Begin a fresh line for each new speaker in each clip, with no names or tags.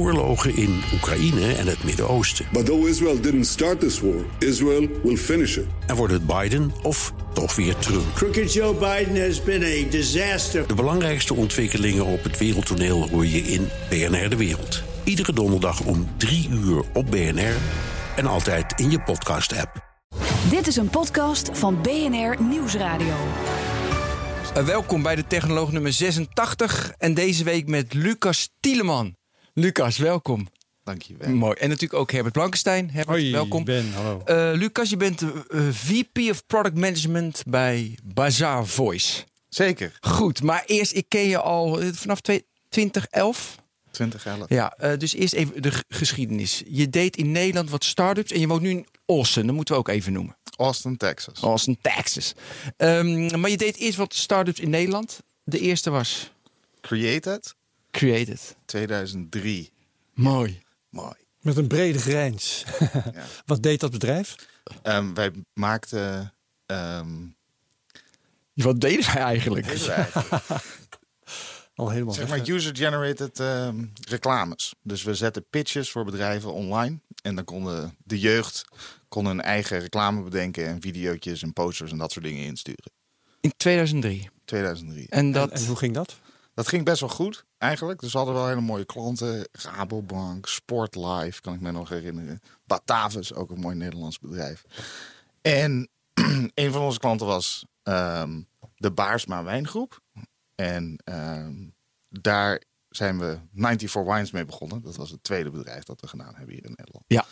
oorlogen in Oekraïne en het Midden-Oosten.
But though Israel didn't start this war, Israel will finish it.
En wordt het Biden of toch weer Trump?
Crooked Joe Biden has been a disaster.
De belangrijkste ontwikkelingen op het wereldtoneel hoor je in BNR De Wereld. Iedere donderdag om 3 uur op BNR en altijd in je podcast-app.
Dit is een podcast van BNR Nieuwsradio.
Eh, welkom bij de Technoloog nummer 86 en deze week met Lucas Tieleman. Lucas, welkom.
Dankjewel. Mm.
Mooi. En natuurlijk ook Herbert Blankenstein. Herbert,
Hoi,
welkom.
Ben, hallo.
Eh, Lucas, je bent eh, eh, VP of Product Management bij Bazaar Voice.
Zeker,
Goed, maar eerst, ik ken je al eh, vanaf twee- 2011.
2011.
Ja, eh, dus eerst even de g- geschiedenis. Je deed in Nederland wat start-ups en je woont nu in Austin. Dat moeten we ook even noemen.
Austin, Texas.
Austin, Texas. Ehm, maar je deed eerst wat start-ups in Nederland. De eerste was
Created,
Created.
2003.
Mooi.
Mooi.
Met een brede grijns.
Ja.
Wat deed dat bedrijf?
Ehm, wij maakten... ehm,
Wat deden wij eigenlijk?
deden we eigenlijk,
Al helemaal
zeg
weg.
maar user-generated ehm, reclames. Dus we zetten pitches voor bedrijven online. En dan konden de jeugd kon hun eigen reclame bedenken... en videootjes en posters en dat soort dingen insturen.
In 2003.
2003.
En dat...
En hoe ging dat?
Dat ging best wel goed, eigenlijk. Dus we hadden wel hele mooie klanten. Rabobank, Sportlife, kan ik me nog herinneren. Batavus, ook een mooi Nederlands bedrijf. En een van onze klanten was ehm, de Baarsma Wijngroep. En ehm, daar zijn we 94 Wines mee begonnen. Dat was het tweede bedrijf dat we gedaan hebben hier in Nederland.
Ja.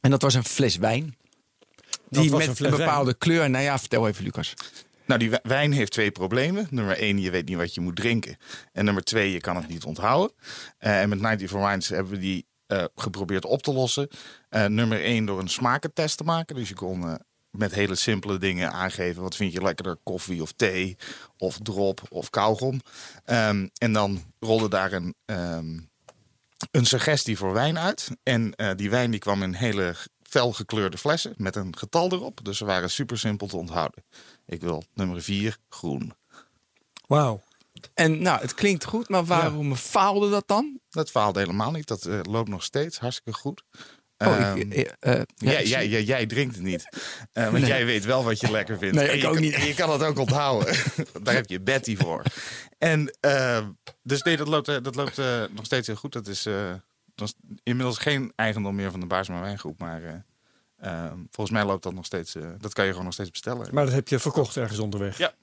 En dat was een fles wijn. Die
was
met
een
een,
fles
bepaalde
wijn.
kleur. Nou ja, vertel even, Lucas.
Nou, die wi- wijn heeft twee problemen. Nummer één, je weet niet wat je moet drinken. En nummer twee, je kan het niet onthouden. Eh, en met 94 Wines hebben we die eh, geprobeerd op te lossen. Eh, nummer één, door een smakentest te maken. Dus je kon eh, met hele simpele dingen aangeven... wat vind je lekkerder, koffie of thee, of drop of kauwgom. Ehm, en dan rolde daar een... ehm, een suggestie voor wijn uit. En eh, die wijn die kwam in hele felgekleurde flessen met een getal erop. Dus ze waren super simpel te onthouden. Ik wil nummer 4 groen.
Wauw.
En nou, het klinkt goed, maar waarom faalde dat dan?
Dat faalde helemaal niet. Dat eh, loopt nog steeds hartstikke goed.
Oh,
Ehm,
ik, eh, eh, ja,
jij,
ik-
jij, jij, jij drinkt het niet. Eh, want jij weet wel wat je lekker vindt.
Nee,
En
ik
je
ook
kan,
niet.
en Je kan het ook onthouden. Daar heb je Betty voor. En eh, dus nee, dat loopt, eh, dat loopt eh, nog steeds heel goed. Dat is, eh, dat is inmiddels geen eigendom meer van de Baarsma Wijngroep. Maar eh, eh, volgens mij loopt dat nog steeds. eh, dat kan je gewoon nog steeds bestellen.
Maar dat heb je verkocht ergens onderweg.
Ja.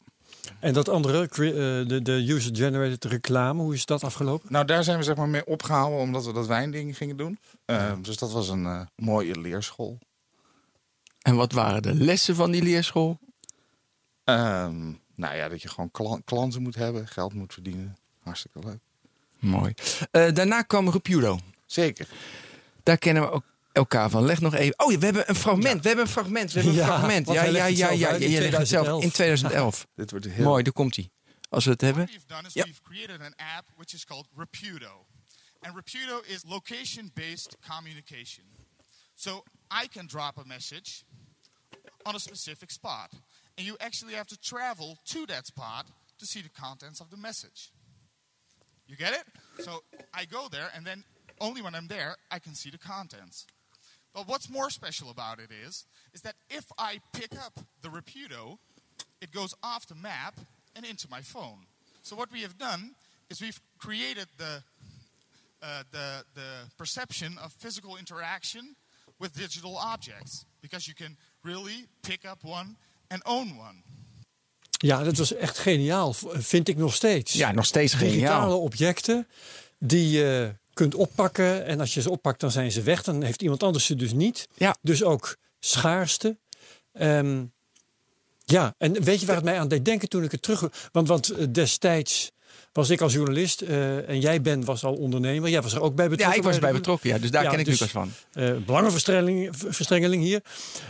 En dat andere, cre- eh, de, de user-generated reclame, hoe is dat afgelopen?
Nou, daar zijn we zeg maar mee opgehouden omdat we dat wijnding gingen doen. Eh, Dus dat was een eh, mooie leerschool.
En wat waren de lessen van die leerschool?
Ehm, nou ja, dat je gewoon kla- klanten moet hebben, geld moet verdienen. Hartstikke leuk.
Mooi. Eh, daarna kwam Repudo.
Zeker.
Daar kennen we ook elkaar van. Leg nog even. Oh, ja, we hebben een fragment. We hebben een fragment. We hebben een
Ja,
fragment.
want
Ja,
hij
ja,
legt het
ja,
zelf
ja,
uit
ja.
in
Je legt het zelf
2011.
in 2011.
Dit wordt heel
Mooi, daar komt hij. Als we het hebben.
What we've done is
Yep.
we've created an app which is called Repudo. And Repudo is location based communication. So I can drop a message on a specific spot. And you actually have to travel to that spot to see the contents of the message. You get it? So I go there, and then only when I'm there, I can see the contents. But what's more special about it is, is that if I pick up the Repudo, it goes off the map and into my phone. So what we have done is we've created the, uh, the, the perception of physical interaction with digital objects, because you can really pick up one and own one.
Ja, dat was echt geniaal, v- vind ik nog steeds.
Ja, nog steeds
Digitale
geniaal.
objecten die je kunt oppakken. En als je ze oppakt, dan zijn ze weg. Dan heeft iemand anders ze dus niet.
Ja.
Dus ook schaarste. Ehm, ja, en weet je waar het mij aan deed denken toen ik het terug... Want, want eh, destijds was ik als journalist eh, en jij Ben was al ondernemer. Jij was er ook bij
Ja,
betrokken.
ik was bij betrokken. Ja, dus daar
Ja,
ken ik
dus-
Lucas van.
eh, belangenverstrengeling v- verstrengeling hier.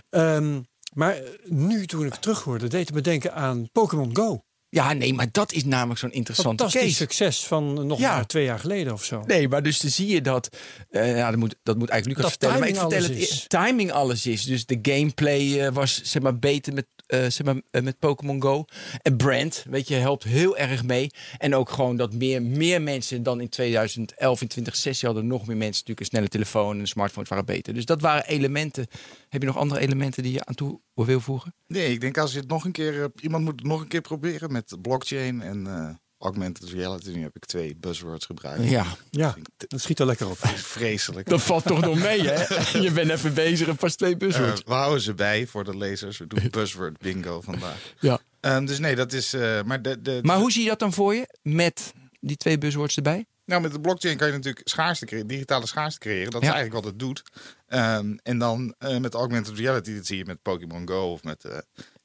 Ehm, maar nu, toen ik het terughoorde, deed het me denken aan Pokémon Go.
Ja, nee, maar dat is namelijk zo'n interessante
Fantastisch
case.
succes van nog
Ja.
maar twee jaar geleden of zo.
Nee, maar dus dan zie je dat. eh, ja, dat moet, dat moet eigenlijk Lucas
Dat
vertellen. Maar ik
timing
vertel het.
alles
eh, Timing alles is. Dus de gameplay eh, was zeg maar beter met, eh, zeg maar, eh, met Pokémon Go. En brand, weet je, helpt heel erg mee. En ook gewoon dat meer, meer mensen dan in 2011, in 2016 hadden nog meer mensen natuurlijk een snelle telefoon en een smartphone waren beter. Dus dat waren elementen. Heb je nog andere elementen die je aan toe wil voegen?
Nee, ik denk als je het nog een keer. eh, iemand moet het nog een keer proberen met blockchain en eh, augmented reality. Nu heb ik twee buzzwords gebruikt.
Ja.
Ja, dat schiet er lekker op.
Vreselijk.
Dat valt toch nog mee, hè? Je bent even bezig en pas twee
Eh,
buzzwords.
we houden ze bij voor de lezers. We doen buzzword bingo vandaag.
ja.
Ehm, dus nee, dat is. eh, maar, de, de,
Maar hoe zie je dat dan voor je? Met die twee buzzwords erbij?
Nou, met de blockchain kan je natuurlijk schaarste creëren, digitale schaarste creëren. Dat is
Ja.
eigenlijk wat het doet. Ehm, en dan eh, met augmented reality, dat zie je met Pokémon Go of met eh,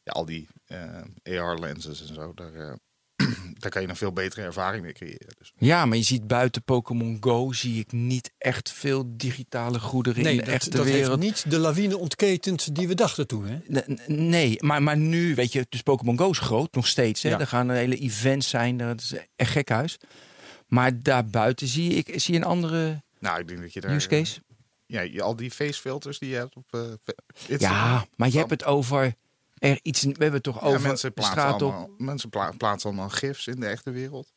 ja, al die eh, AR-lenses en zo. Daar, eh, daar kan je nog veel betere ervaring mee creëren. Dus.
Ja, maar je ziet buiten Pokémon Go zie ik niet echt veel digitale goederen in
Nee,
de
dat,
echte
dat heeft
wereld.
niet de lawine ontketend die we dachten toen. Hè?
N- n- Nee, maar, maar nu, weet je, dus Pokémon Go is groot nog steeds. Hè?
Ja.
Er gaan er hele events zijn, dat is echt gekhuis. Maar daarbuiten zie ik zie je een andere
Nou, ik denk dat je daar. eh,
use case.
ja, je- al die facefilters die je hebt op eh, Instagram.
Ja, maar je hebt het over er iets. We hebben het toch
Ja,
over
mensen
de
plaatsen,
straat op.
allemaal, mensen pla- plaatsen allemaal gifs in de echte wereld.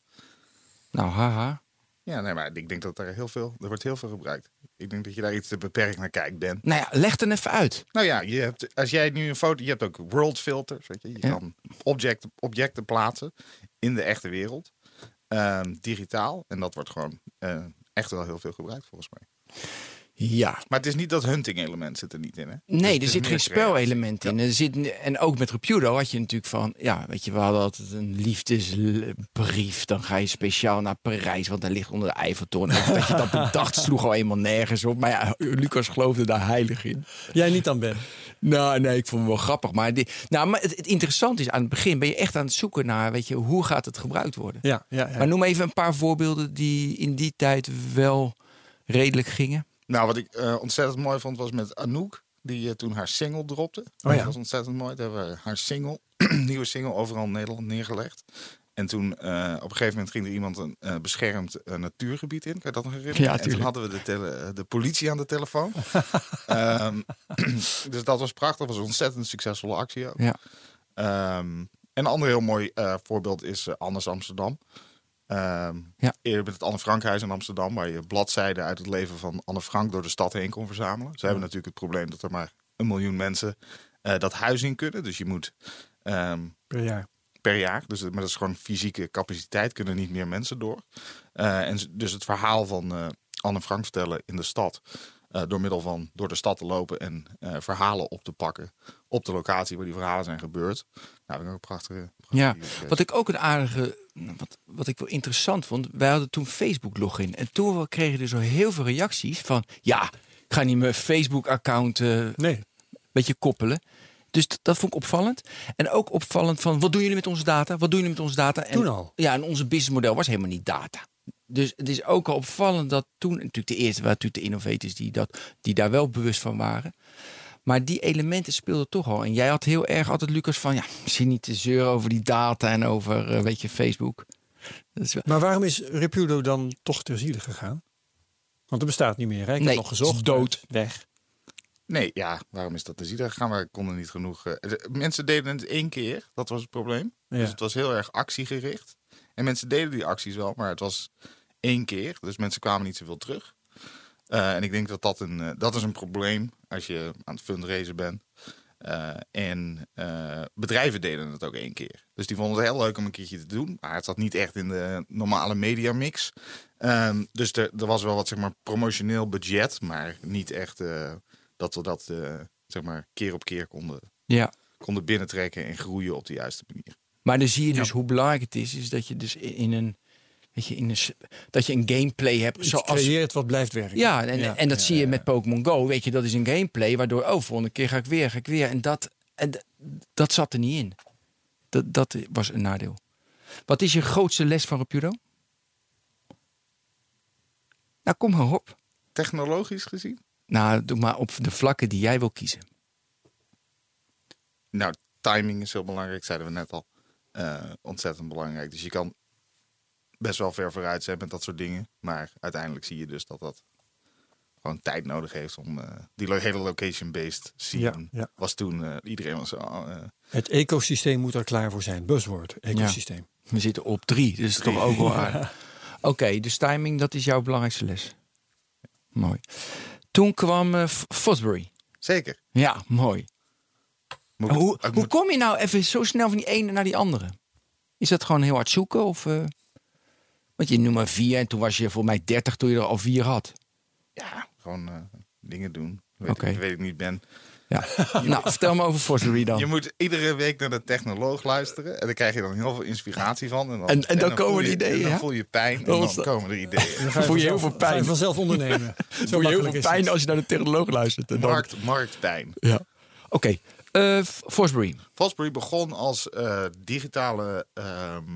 Nou, haha.
Ja, nee, maar ik denk dat daar heel veel, er wordt heel veel gebruikt. Ik denk dat je daar iets te beperkt naar kijkt bent.
Nou ja, leg dan even uit.
Nou ja, je hebt, als jij nu een foto, je hebt ook world filters, weet je. Je
Ja.
kan objecten, objecten plaatsen in de echte wereld, ehm, digitaal. En dat wordt gewoon eh, echt wel heel veel gebruikt volgens mij.
Ja,
Maar het is niet dat hunting element zit er niet in, hè? Dus
Nee,
het
er
is
zit
meer
geen
creatie.
spelelement in. Er zit, n- en ook met Repudo had je natuurlijk van... Ja, weet je, we hadden altijd een liefdesbrief. Dan ga je speciaal naar Parijs, want daar ligt onder de Eiffeltoren. Of dat je dat bedacht, sloeg al eenmaal nergens op. Maar ja, Lucas geloofde daar heilig in.
Jij niet dan, Ben.
Nou, nee, ik vond hem wel grappig. Maar, die, nou, maar het, het interessante is, aan het begin ben je echt aan het zoeken naar... Weet je, hoe gaat het gebruikt worden?
Ja, ja, ja.
Maar noem even een paar voorbeelden die in die tijd wel redelijk gingen.
Nou, wat ik eh, ontzettend mooi vond was met Anouk, die eh, toen haar single dropte.
Oh
ja.
Dat was ontzettend mooi. Daar hebben we haar single, nieuwe single, overal in Nederland neergelegd. En toen, eh, op een gegeven moment ging er iemand een eh, beschermd eh, natuurgebied in. Kan je dat nog herinneren?
Ja,
en toen
tuurlijk.
hadden we de, tele- eh, de politie aan de telefoon. Ehm, dus dat was prachtig. Dat was een ontzettend succesvolle actie ook.
Ja.
Ehm, en een ander heel mooi eh, voorbeeld is eh, Anders Amsterdam. Ehm,
Ja.
Eerder met het Anne Frankhuis in Amsterdam, waar je bladzijden uit het leven van Anne Frank door de stad heen kon verzamelen. Ze hebben natuurlijk het probleem dat er maar een miljoen mensen eh, dat huis in kunnen. Dus je moet ehm,
Per jaar.
per jaar. Dus, het- maar dat is gewoon fysieke capaciteit, kunnen niet meer mensen door. Eh, en z- dus het verhaal van eh, Anne Frank vertellen in de stad. eh, door middel van door de stad te lopen en eh, verhalen op te pakken. Op de locatie waar die verhalen zijn gebeurd. Nou, dat is ook een prachtige.
Ja,
prachtige idee.
wat ik ook een aardige, nou, wat, wat ik wel interessant vond, wij hadden toen Facebook login. En toen wel- kregen er zo dus heel veel reacties van, ja, ik ga niet mijn Facebook account eh, een
Nee.
beetje koppelen. Dus dat, dat vond ik opvallend. En ook opvallend van, wat doen jullie met onze data? Wat doen jullie met onze data? En,
Toen al?
Ja, en onze businessmodel was helemaal niet data. Dus het is ook al opvallend dat toen, natuurlijk de eerste waren natuurlijk de innovators die, dat, die daar wel bewust van waren. Maar die elementen speelden toch al. En jij had heel erg altijd, Lucas, van ja, misschien niet te zeuren over die data en over, eh, weet je, Facebook. Dat is wel...
Maar waarom is Repudo dan toch ter ziele gegaan? Want het bestaat niet meer. Hè? Ik heb
Nee,
nog gezocht.
het is dood.
Weg.
Nee, ja, waarom is dat te zien? Daar gaan we konden niet genoeg. eh, de- mensen deden het één keer, dat was het probleem.
Ja.
Dus het was heel erg actiegericht. En mensen deden die acties wel, maar het was één keer. Dus mensen kwamen niet zoveel terug. Eh, en ik denk dat dat een, eh, dat is een probleem als je aan het fundraisen bent. Eh, en eh, bedrijven deden het ook één keer. Dus die vonden het heel leuk om een keertje te doen. Maar het zat niet echt in de normale mediamix. Ehm, dus er, er was wel wat zeg maar, promotioneel budget. Maar niet echt eh, dat we dat eh, zeg maar, keer op keer konden,
Ja.
konden binnentrekken en groeien op de juiste manier.
Maar dan zie je dus hoe belangrijk het is, is dat je dus in in een, weet je, in een, s- dat je een gameplay hebt.
Iets
Zoals,
creëert wat blijft werken.
ja, en, en dat
ja,
zie je
ja,
met Pokémon Go. Weet je, dat is een gameplay waardoor, oh, volgende keer ga ik weer, ga ik weer. En dat, en d- dat zat er niet in. Dat, dat was een nadeel. Wat is je grootste les van Rapudo? Nou, kom maar op.
Technologisch gezien?
Nou, doe maar op de vlakken die jij wil kiezen.
Nou, timing is heel belangrijk, zeiden we net al. eh, ontzettend belangrijk. Dus je kan best wel ver vooruit zijn met dat soort dingen. Maar uiteindelijk zie je dus dat dat gewoon tijd nodig heeft om eh, die lo- hele location-based scene.
Ja, ja.
Was toen eh, iedereen was zo. ah, eh,
Het ecosysteem moet daar klaar voor zijn. Buzzword, ecosysteem.
We zitten op drie, dus toch ook wel aardig. Oké, dus timing, dat is jouw belangrijkste les. Mooi. Toen kwam eh, F- Fosbury.
zeker.
Ja, mooi.
Moet ik-
Hoe,
ik moet-
hoe kom je nou even zo snel van die ene naar die andere? Is dat gewoon heel hard zoeken? Of, eh, want je noemt maar vier en toen was je voor mij dertig toen je er al vier had.
ja, gewoon eh, dingen doen. Weet,
Oké.
ik, weet ik niet, Ben.
Ja. nou, vertel me over Fosbury dan.
Je moet iedere week naar de technoloog luisteren. En daar krijg je dan heel veel inspiratie van. En dan,
En- en dan komen
voel
er
je-
ideeën,
En dan
ja?
voel je pijn.
Dat
En
was
dan
dat.
komen er ideeën.
Ga je
Voel je heel
vanzelf-
veel pijn.
Ga je vanzelf ondernemen. Zo
Voel je heel
makkelijk
veel
is het.
pijn als je naar de technoloog luistert. En dan-
Markt, marktpijn.
Ja. Oké, Eh F- Fosbury.
Fosbury begon als eh, digitale ehm,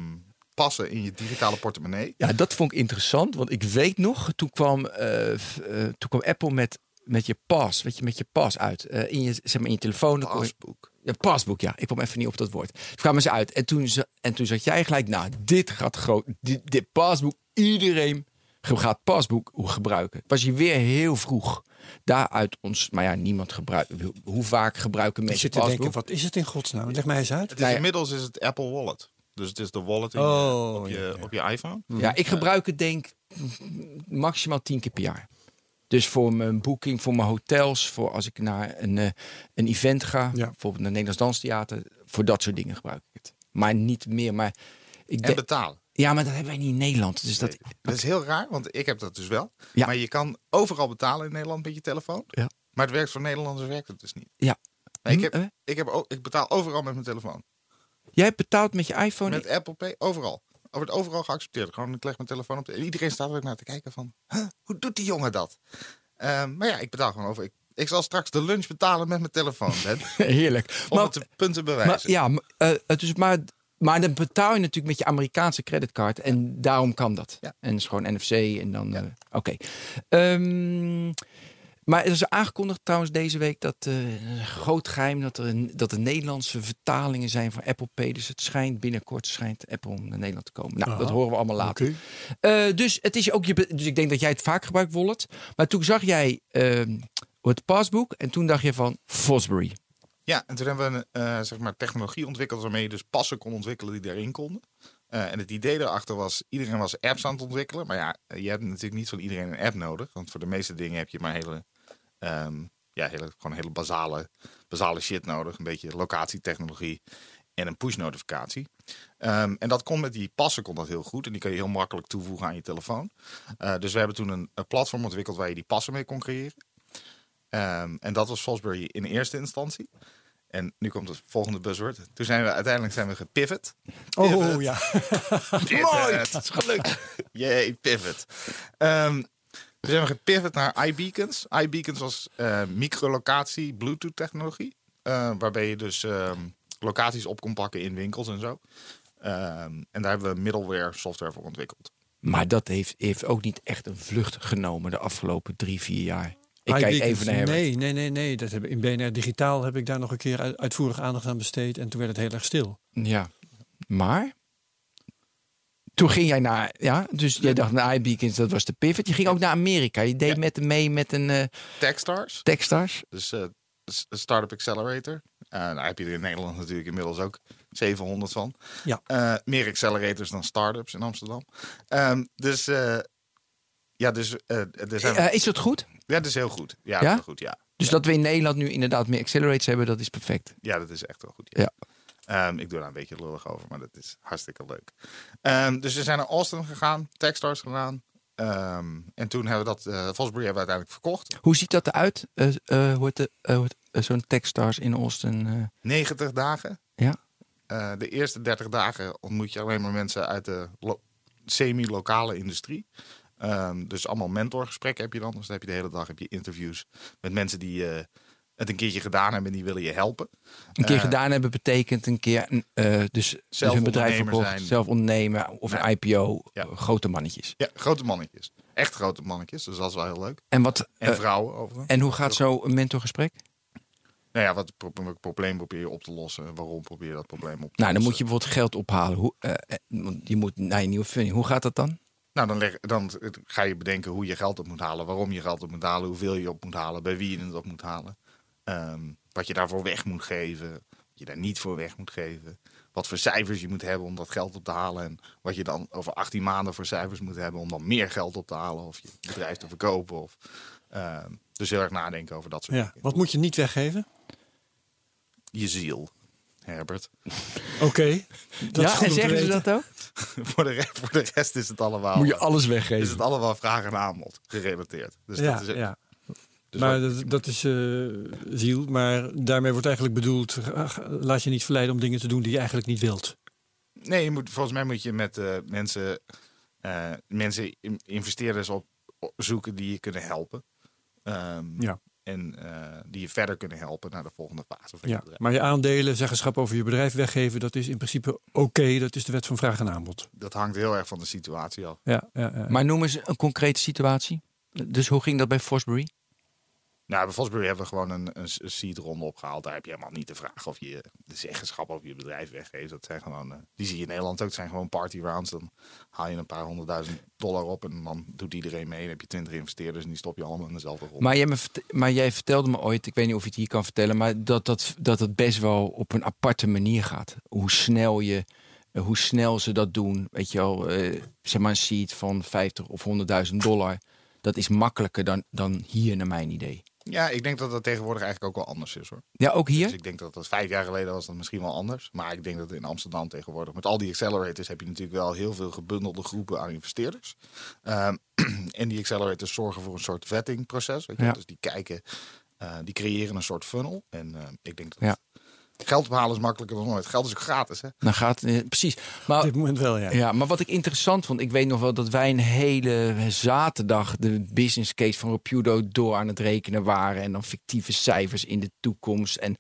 passen in je digitale portemonnee.
Ja, dat vond ik interessant, want ik weet nog, toen kwam, eh, f- eh, toen kwam Apple met, met je pas, weet je, met je pas uit. Eh, in, je, zeg maar, in je telefoon. dan kon je-
Pasboek.
Ja, pasboek, ja. Ik kwam even niet op dat woord. Toen kwamen ze uit en toen, ze, en toen zat jij gelijk, nou, dit gaat groot. Dit, dit pasboek, iedereen ge- gaat pasboek gebruiken. Was je weer heel vroeg. Daaruit ons, maar ja, niemand gebruikt. Hoe vaak gebruiken
Ik
mensen
zit te denken,
pasboek?
wat is het in godsnaam? Leg mij eens uit.
Het is,
Nou ja.
Inmiddels is het Apple Wallet. Dus het is de wallet in je-
Oh,
op, je,
ja, ja.
op je iPhone.
Ja, ik gebruik het denk mm, maximaal tien keer per jaar. Dus voor mijn boeking, voor mijn hotels, voor als ik naar een, eh, een event ga, bijvoorbeeld naar het Nederlands Danstheater, voor dat soort dingen gebruik ik het. Maar niet meer. Maar ik
En
denk-
betalen.
ja, maar dat hebben wij niet in Nederland. Dus dat,
Nee. Dat is heel raar, want ik heb dat dus wel.
Ja.
Maar je kan overal betalen in Nederland met je telefoon.
Ja.
Maar het werkt voor Nederlanders werkt het dus niet.
ja.
Nee, ik,
Hm,
heb,
eh?
ik, heb, ook- ik betaal overal met mijn telefoon.
Jij betaalt met je iPhone.
Met Apple Pay, overal. Er wordt overal geaccepteerd. Gewoon, ik leg mijn telefoon op. de- en iedereen staat er ook naar te kijken van, huh, hoe doet die jongen dat? Ehm, maar ja, ik betaal gewoon over. Ik, ik zal straks de lunch betalen met mijn telefoon, Ben.
Heerlijk.
Om het te, punten bewijzen.
maar, ja, maar, eh, het is maar, maar dan betaal je natuurlijk met je Amerikaanse creditcard. En daarom kan dat.
Ja.
En het is gewoon NFC en dan... eh, Oké. Ehm, maar er is aangekondigd trouwens deze week dat eh, een groot geheim dat er, een- dat er Nederlandse vertalingen zijn van Apple Pay. Dus het schijnt binnenkort schijnt Apple naar Nederland te komen. Nou, dat horen we allemaal later. Eh, dus het is ook je. be- Dus ik denk dat jij het vaak gebruikt, Wallet. Maar toen zag jij ehm, het pasboek en toen dacht je van Fosbury.
Ja, en toen hebben we een eh, zeg maar technologie ontwikkeld waarmee je dus passen kon ontwikkelen die daarin konden. Eh, en het idee daarachter was, iedereen was apps aan het ontwikkelen. Maar ja, eh, je hebt natuurlijk niet van iedereen een app nodig. Want voor de meeste dingen heb je maar hele, ehm, ja, hele, gewoon hele basale, basale shit nodig. Een beetje locatietechnologie en een push notificatie. Ehm, en dat kon met die passen kon dat heel goed. En die kan je heel makkelijk toevoegen aan je telefoon. Eh, dus we hebben toen een, een platform ontwikkeld waar je die passen mee kon creëren. Ehm, en dat was Salisbury in eerste instantie. En nu komt het volgende buzzword. Toen zijn we uiteindelijk zijn we gepivot.
Oh ja.
Mooi! eh, Het is gelukt. Jee, pivot. Ehm, toen zijn we gepivot naar iBeacons. iBeacons was eh, microlocatie, Bluetooth technologie. eh, waarbij je dus ehm, locaties op kon pakken in winkels en zo. Ehm, en daar hebben we middleware software voor ontwikkeld.
Maar dat heeft, heeft ook niet echt een vlucht genomen de afgelopen drie, vier jaar. Ik
Maar
kijk
denk-
even naar Herbert.
Nee, nee, nee, nee. Dat heb, ik- in BNR Digitaal heb ik daar nog een keer uit- uitvoerig aandacht aan besteed. En toen werd het heel erg stil.
Ja. Maar? Toen ging jij naar, ja, dus jij dacht naar iBeacons, dat was de pivot. Je ging ook naar Amerika. Je deed
Ja.
met mee met een eh
Techstars.
Techstars.
Dus eh, s- Startup Accelerator. Eh daar heb je er in Nederland natuurlijk inmiddels ook 700 van.
Ja.
Eh, meer accelerators dan startups in Amsterdam. Ehm, dus eh, ja, dus, eh, er zijn,
Eh, is dat goed?
ja, dat is heel goed. Ja,
Ja?
dat is goed, ja.
Dus dat we in Nederland nu inderdaad meer accelerators hebben, dat is perfect.
ja, dat is echt wel goed. Ja.
Ja.
Ehm, ik doe daar een beetje lullig over, maar dat is hartstikke leuk. Ehm, dus we zijn naar Austin gegaan, Techstars gedaan. Ehm, en toen hebben we dat, eh Fosbury hebben we uiteindelijk verkocht.
Hoe ziet dat eruit? Eh eh, hoe heet de- eh, hoe heet- eh, zo'n Techstars in Austin? eh,
90 dagen.
ja.
Eh, de eerste 30 dagen ontmoet je alleen maar mensen uit de lo- semi-lokale industrie. Ehm, dus allemaal mentorgesprekken heb je dan. Dus dan heb je de hele dag heb je interviews met mensen die eh, het een keertje gedaan hebben en die willen je helpen.
Een keer
Eh,
gedaan hebben betekent een keer eh, dus, dus
Zelf
een bedrijf
ondernemer
verkocht,
zijn.
zelf ondernemen of een IPO,
Ja.
eh, grote mannetjes.
Ja, grote mannetjes. Echt grote mannetjes. Dus dat is wel heel leuk.
En wat?
En
eh,
vrouwen overigens.
en hoe gaat zo'n mentorgesprek?
Nou ja, wat pro- welk probleem probeer je op te lossen? Waarom probeer je dat probleem op te
Nou, dan moet je
lossen?
bijvoorbeeld geld ophalen. Hoe, eh, eh, want je moet naar je nieuwe funding. Hoe gaat dat dan?
Nou, dan, leg, dan eh, ga je bedenken hoe je geld op moet halen, waarom je geld op moet halen, hoeveel je op moet halen, bij wie je het op moet halen. Ehm, wat je daarvoor weg moet geven, wat je daar niet voor weg moet geven. Wat voor cijfers je moet hebben om dat geld op te halen. En wat je dan over 18 maanden voor cijfers moet hebben om dan meer geld op te halen. Of je bedrijf te verkopen. Of, ehm, dus heel erg nadenken over dat soort
Ja.
dingen.
Wat moet je niet weggeven?
Je ziel, Herbert.
Oké. Dat is
ja,
goed
en zeggen
om te
ze
weten.
dat ook?
voor, de rest, voor de rest is het allemaal...
Moet je
eh,
alles
is het
weggeven.
allemaal vraag en aanbod gerelateerd. Dus
ja,
dat is,
ja.
dus
maar
wat-
dat, dat is eh, ziel. Maar daarmee wordt eigenlijk bedoeld, eh, laat je niet verleiden om dingen te doen die je eigenlijk niet wilt.
Nee, je moet, volgens mij moet je met eh, mensen, eh, mensen in- investeerders op, op- zoeken die je kunnen helpen. Ehm,
Ja.
En eh, die je verder kunnen helpen naar de volgende fase van je
Ja.
bedrijf.
Maar je aandelen, zeggenschap over je bedrijf weggeven, dat is in principe oké. Dat is de wet van vraag en aanbod.
Dat hangt heel erg van de situatie af.
Ja, ja, ja.
Maar noem eens een concrete situatie. Dus hoe ging dat bij Fosbury?
Nou, bij Fosbury hebben we gewoon een, een seed-ronde opgehaald. Daar heb je helemaal niet de vraag of je de zeggenschap over je bedrijf weggeeft. Dat zijn gewoon, eh, die zie je in Nederland ook. Het zijn gewoon party rounds. Dan haal je een paar honderdduizend dollar op en dan doet iedereen mee. Dan heb je twintig investeerders en die stop je allemaal in dezelfde ronde.
Maar jij, me verte- maar jij vertelde me ooit, ik weet niet of je het hier kan vertellen, maar dat dat, dat het best wel op een aparte manier gaat. Hoe snel, je, eh, hoe snel ze dat doen. Weet je wel, eh, zeg maar een seed van 50 of 100.000 dollar. Dat is makkelijker dan, dan hier, naar mijn idee.
Ja, ik denk dat dat tegenwoordig eigenlijk ook wel anders is hoor.
Ja, ook
Dus
hier?
ik denk dat dat vijf jaar geleden was dat misschien wel anders. Maar ik denk dat in Amsterdam tegenwoordig met al die accelerators heb je natuurlijk wel heel veel gebundelde groepen aan investeerders. Ehm, en die accelerators zorgen voor een soort vettingproces. Weet je?
Ja.
Dus die kijken, eh, die creëren een soort funnel. En eh, ik denk dat
Ja.
geld ophalen is makkelijker dan ooit. Geld is ook gratis hè.
Dan gaat, eh, precies.
Op
Maar
dit moment wel, ja.
Ja, maar wat ik interessant vond, ik weet nog wel dat wij een hele zaterdag de business case van Repudo door aan het rekenen waren. En dan fictieve cijfers in de toekomst. En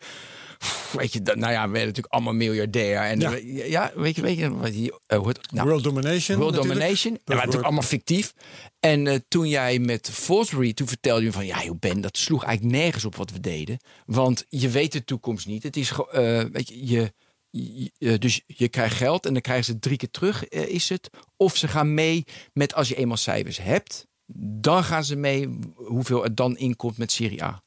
pff, weet je, dat, nou ja, we werden natuurlijk allemaal miljardair. En eh,
Ja.
ja, weet je, weet je wat die, eh, hoe het- nou,
World domination.
World
natuurlijk.
Domination. Ja, maar
Dat
het is ook
wordt-
allemaal fictief. En eh, toen jij met Fosbury, toen vertelde je me van... Ja, joh Ben, dat sloeg eigenlijk nergens op wat we deden. Want je weet de toekomst niet. Het is, ge- eh, weet je, je, je- eh, dus je krijgt geld en dan krijgen ze het drie keer terug, eh, is het. Of ze gaan mee met als je eenmaal cijfers hebt... dan gaan ze mee hoeveel er dan inkomt met Serie A.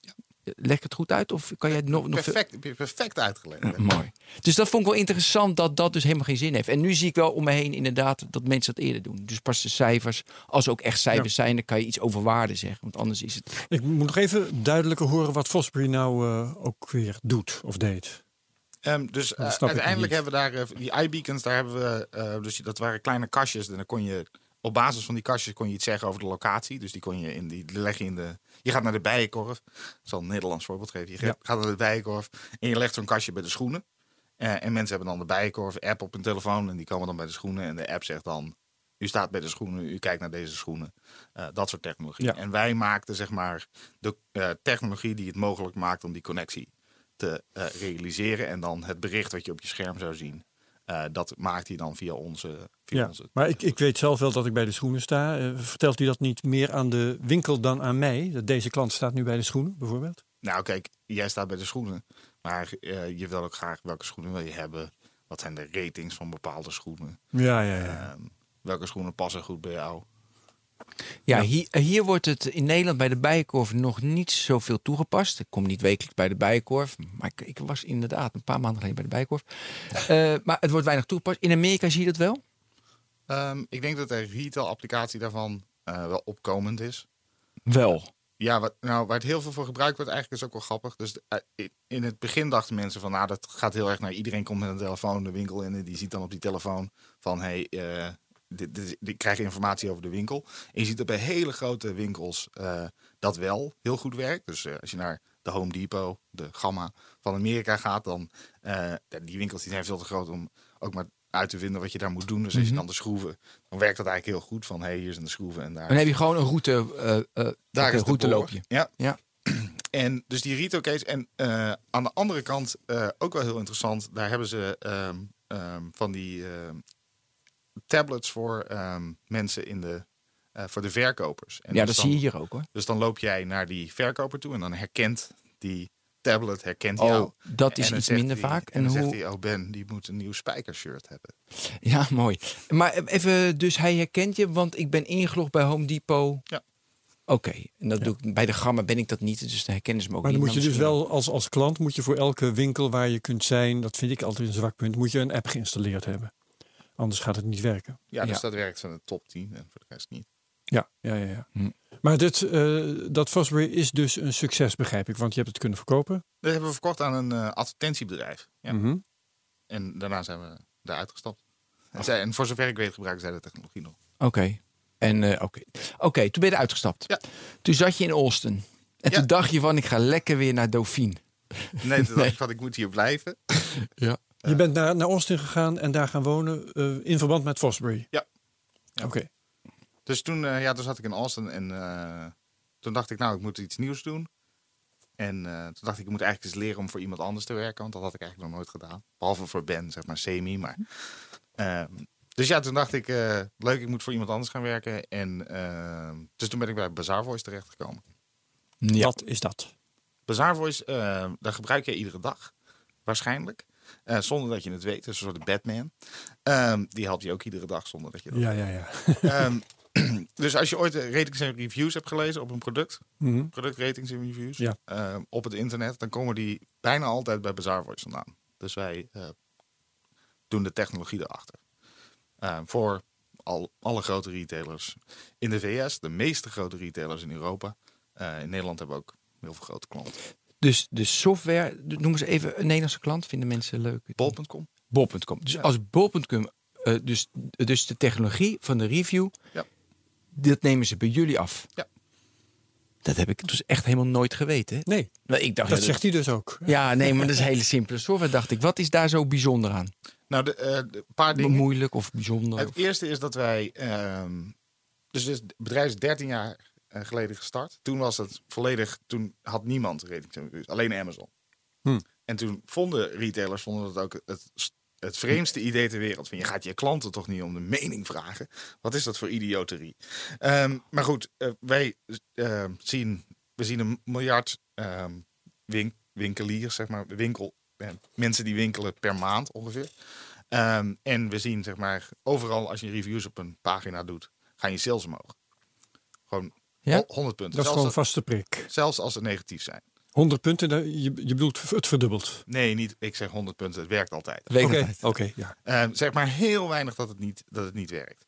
Leg ik het goed uit? Of kan jij het nog... nog
Perfect, heb je perfect uitgelegd. hè.
Mooi. Dus dat vond ik wel interessant dat dat dus helemaal geen zin heeft. En nu zie ik wel om me heen inderdaad dat mensen dat eerder doen. Dus pas de cijfers, als er ook echt cijfers zijn, dan kan je iets over waarde zeggen. Want anders is het...
Ik moet nog even duidelijker horen wat Fosbury nou eh, ook weer doet of deed.
Ehm, dus eh,
snap ik nog
uiteindelijk
niet.
hebben we daar eh, die iBeacons, daar hebben we, eh, dus dat waren kleine kastjes. En dan kon je op basis van die kastjes kon je iets zeggen over de locatie. Dus die kon je in die die leg je in de. Je gaat naar de bijenkorf. Ik zal een Nederlands voorbeeld geven. Je ge-
Ja.
gaat naar de bijenkorf en je legt zo'n kastje bij de schoenen. Eh, en mensen hebben dan de bijenkorf app op hun telefoon en die komen dan bij de schoenen. En de app zegt dan: U staat bij de schoenen, u kijkt naar deze schoenen. Eh, dat soort technologie.
Ja.
En wij maakten zeg maar de eh, technologie die het mogelijk maakt om die connectie te eh, realiseren. En dan het bericht wat je op je scherm zou zien, eh, dat maakt hij dan via onze. Via
Ja,
onze
maar ik, ik weet zelf wel dat ik bij de schoenen sta. Eh, vertelt u dat niet meer aan de winkel dan aan mij? Dat deze klant staat nu bij de schoenen, bijvoorbeeld?
Nou, kijk, jij staat bij de schoenen. Maar eh, je wil ook graag welke schoenen wil je hebben. Wat zijn de ratings van bepaalde schoenen?
Ja, ja, ja.
Ehm, welke schoenen passen goed bij jou?
Ja, Hier, eh, hier wordt het in Nederland bij de Bijenkorf nog niet zoveel toegepast. Ik kom niet wekelijks bij de Bijenkorf. Maar ik, ik was inderdaad een paar maanden geleden bij de Bijenkorf. Eh, maar het wordt weinig toegepast. In Amerika zie je dat wel?
Ehm, ik denk dat de retail-applicatie daarvan eh, wel opkomend is.
Wel.
Ja, wat, nou, waar het heel veel voor gebruikt wordt, eigenlijk is ook wel grappig. Dus eh, in- in het begin dachten mensen van, nou, dat gaat heel erg naar iedereen komt met een telefoon de winkel in en die ziet dan op die telefoon van, hé, hey, eh, dit, dit, is- ik krijg informatie over de winkel. En je ziet dat bij hele grote winkels eh, dat wel heel goed werkt. Dus eh, als je naar de Home Depot, de Gamma van Amerika gaat, dan eh, die winkels die zijn veel te groot om ook maar uit te vinden wat je daar moet doen. Dus als
Mhm.
je dan de schroeven, dan werkt dat eigenlijk heel goed van, hé, hey, hier zijn de schroeven en daar.
Dan heb je gewoon een route, eh eh, oké,
is de
route
boor.
loopje.
Ja,
Ja.
en dus die retail case. En eh, aan de andere kant eh, ook wel heel interessant. Daar hebben ze ehm, ehm, van die ehm, tablets voor ehm, mensen in de eh, voor de verkopers. En
ja,
dus
dat
dan-
zie je hier ook hoor.
Dus dan loop jij naar die verkoper toe en dan herkent die tablet herkent
Oh,
hij jou.
dat is
dan
iets
zegt
minder
hij-
vaak.
En
En
dan zegt
hoe-
hij, oh Ben, die moet een nieuw spijkershirt hebben.
Ja, mooi. Maar even, dus hij herkent je, want ik ben ingelogd bij Home Depot.
Ja.
Oké, en dat doe ik bij de gamma ben ik dat niet, dus dan herkennen ze me ook
Maar dan
niet.
moet je dus
misschien
wel als, als klant moet je voor elke winkel waar je kunt zijn, dat vind ik altijd een zwak punt, moet je een app geïnstalleerd hebben. Anders gaat het niet werken.
Ja, dus
Ja.
dat werkt van de top 10 en voor de rest niet.
Ja, ja, ja. ja. Maar dit, eh, dat Fosbury is dus een succes, begrijp ik, want je hebt het kunnen verkopen.
Dat hebben we verkocht aan een eh, advertentiebedrijf. Ja.
Mhm.
En daarna zijn we daaruit gestapt. En, zij, en voor zover ik weet gebruiken zij de technologie nog.
wel. Oké, en eh, oké. Oké, toen ben je eruit gestapt.
Ja.
Toen zat je in Austin. En
Ja.
toen dacht je van, ik ga lekker weer naar Dauphine.
Nee, toen Dus dacht ik van, ik moet hier blijven.
Ja.
Je bent naar, naar Austin gegaan en daar gaan wonen eh, in verband met Fosbury.
Ja.
Oké.
Dus toen, eh, ja, toen zat ik in Austin en eh, toen dacht ik, nou, ik moet iets nieuws doen. En eh, toen dacht ik, ik moet eigenlijk eens leren om voor iemand anders te werken, want dat had ik eigenlijk nog nooit gedaan. Behalve voor Ben, zeg maar, semi, maar... ehm, dus ja, toen dacht ik, eh, leuk, ik moet voor iemand anders gaan werken. En ehm, dus toen ben ik bij Bazaar Voice terechtgekomen.
Ja.
Wat is dat?
Bazaar Voice, eh, daar gebruik je iedere dag, waarschijnlijk. Eh, zonder dat je het weet, dat is een soort Batman. Ehm, die helpt je ook iedere dag zonder dat je dat
Ja, ja, ja.
Ehm, dus als je ooit eh, ratings en reviews hebt gelezen op een product,
Mhm.
productratings en reviews
Ja.
ehm, op het internet, dan komen die bijna altijd bij Bazaar Voice vandaan. Dus wij eh, doen de technologie erachter. Ehm, voor al, alle grote retailers in de VS, de meeste grote retailers in Europa. Eh, in Nederland hebben we ook heel veel grote klanten.
Dus de software, noem eens even een Nederlandse klant, vinden mensen leuk.
Bol.com.
Bol.com. Dus als Bol.com, eh, dus, dus de technologie van de review,
Ja.
dat nemen ze bij jullie af.
Ja.
Dat heb ik dus echt helemaal nooit geweten. hè?
Nee,
Nou, ik dacht,
dat
ja,
zegt hij dus ook.
Ja, nee, maar dat is een hele simpele software, dacht ik. Wat is daar zo bijzonder aan?
Nou, de, eh, de paar dingen.
Moeilijk of bijzonder?
Het eerste is dat wij. ehm, dus het bedrijf is 13 jaar eh, geleden gestart. Toen was het volledig. Toen had niemand ratings en reviews, alleen Amazon.
Hm.
En toen vonden retailers vonden dat ook het, het vreemdste idee ter wereld. Van, je gaat je klanten toch niet om de mening vragen? Wat is dat voor idioterie? Ehm, maar goed, eh, wij eh, zien, we zien een miljard ehm, win- winkeliers, zeg maar, winkel, eh, mensen die winkelen per maand ongeveer. Ehm, en we zien, zeg maar, overal als je reviews op een pagina doet, gaan je sales omhoog. Gewoon
Ja?
ho- 100 punten.
Dat
zelfs,
is gewoon een vaste prik.
als, zelfs als ze negatief zijn.
100 punten, daar- je, je bedoelt het verdubbeld.
Nee, niet, ik zeg 100 punten, het werkt altijd.
Weet ik
Oké,
niet.
oké, ja.
Ehm, zeg maar heel weinig dat het niet, dat het niet werkt.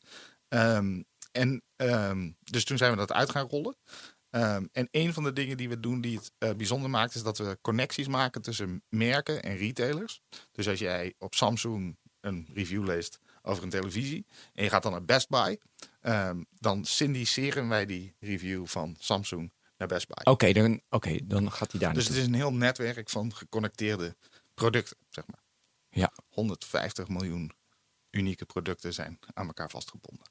Ehm, en ehm, dus toen zijn we dat uit gaan rollen. Ehm, en een van de dingen die we doen die het eh, bijzonder maakt, is dat we connecties maken tussen merken en retailers. Dus als jij op Samsung een review leest over een televisie en je gaat dan naar Best Buy, ehm, dan syndiceren wij die review van Samsung naar Best Buy.
Oké, dan, oké, dan gaat hij daar
Dus het
naartoe.
is een heel netwerk van geconnecteerde producten, zeg maar.
Ja.
150 miljoen unieke producten zijn aan elkaar vastgebonden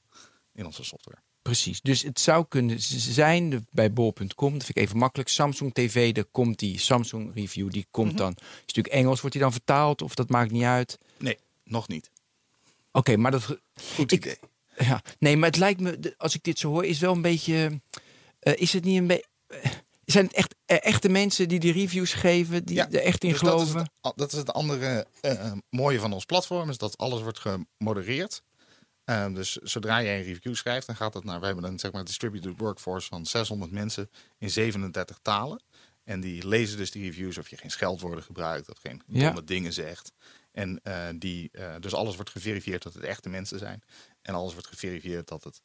in onze software.
Precies. Dus het zou kunnen z- zijn de- bij bol.com, dat vind ik even makkelijk. Samsung TV, daar komt die Samsung review, die
Mhm.
komt dan. Is natuurlijk Engels, wordt die dan vertaald of dat maakt niet uit?
Nee, nog niet.
Oké, maar dat. Goed
idee.
Ja, nee, maar het lijkt me, de- als ik dit zo hoor, is wel een beetje. eh, is het niet een beetje. zijn het echt eh, echte mensen die die reviews geven, die er echt in
dus dat is
geloven?
het a- Dat is het, andere eh, mooie van ons platform, is dat alles wordt gemodereerd. Eh, dus zodra jij een review schrijft, dan gaat dat naar... We hebben een zeg maar, distributed workforce van 600 mensen in 37 talen. En die lezen dus die reviews of je geen scheldwoorden gebruikt... of geen
Ja.
domme dingen zegt. En eh, die, eh, dus alles wordt geverifieerd dat het echte mensen zijn. En alles wordt geverifieerd dat het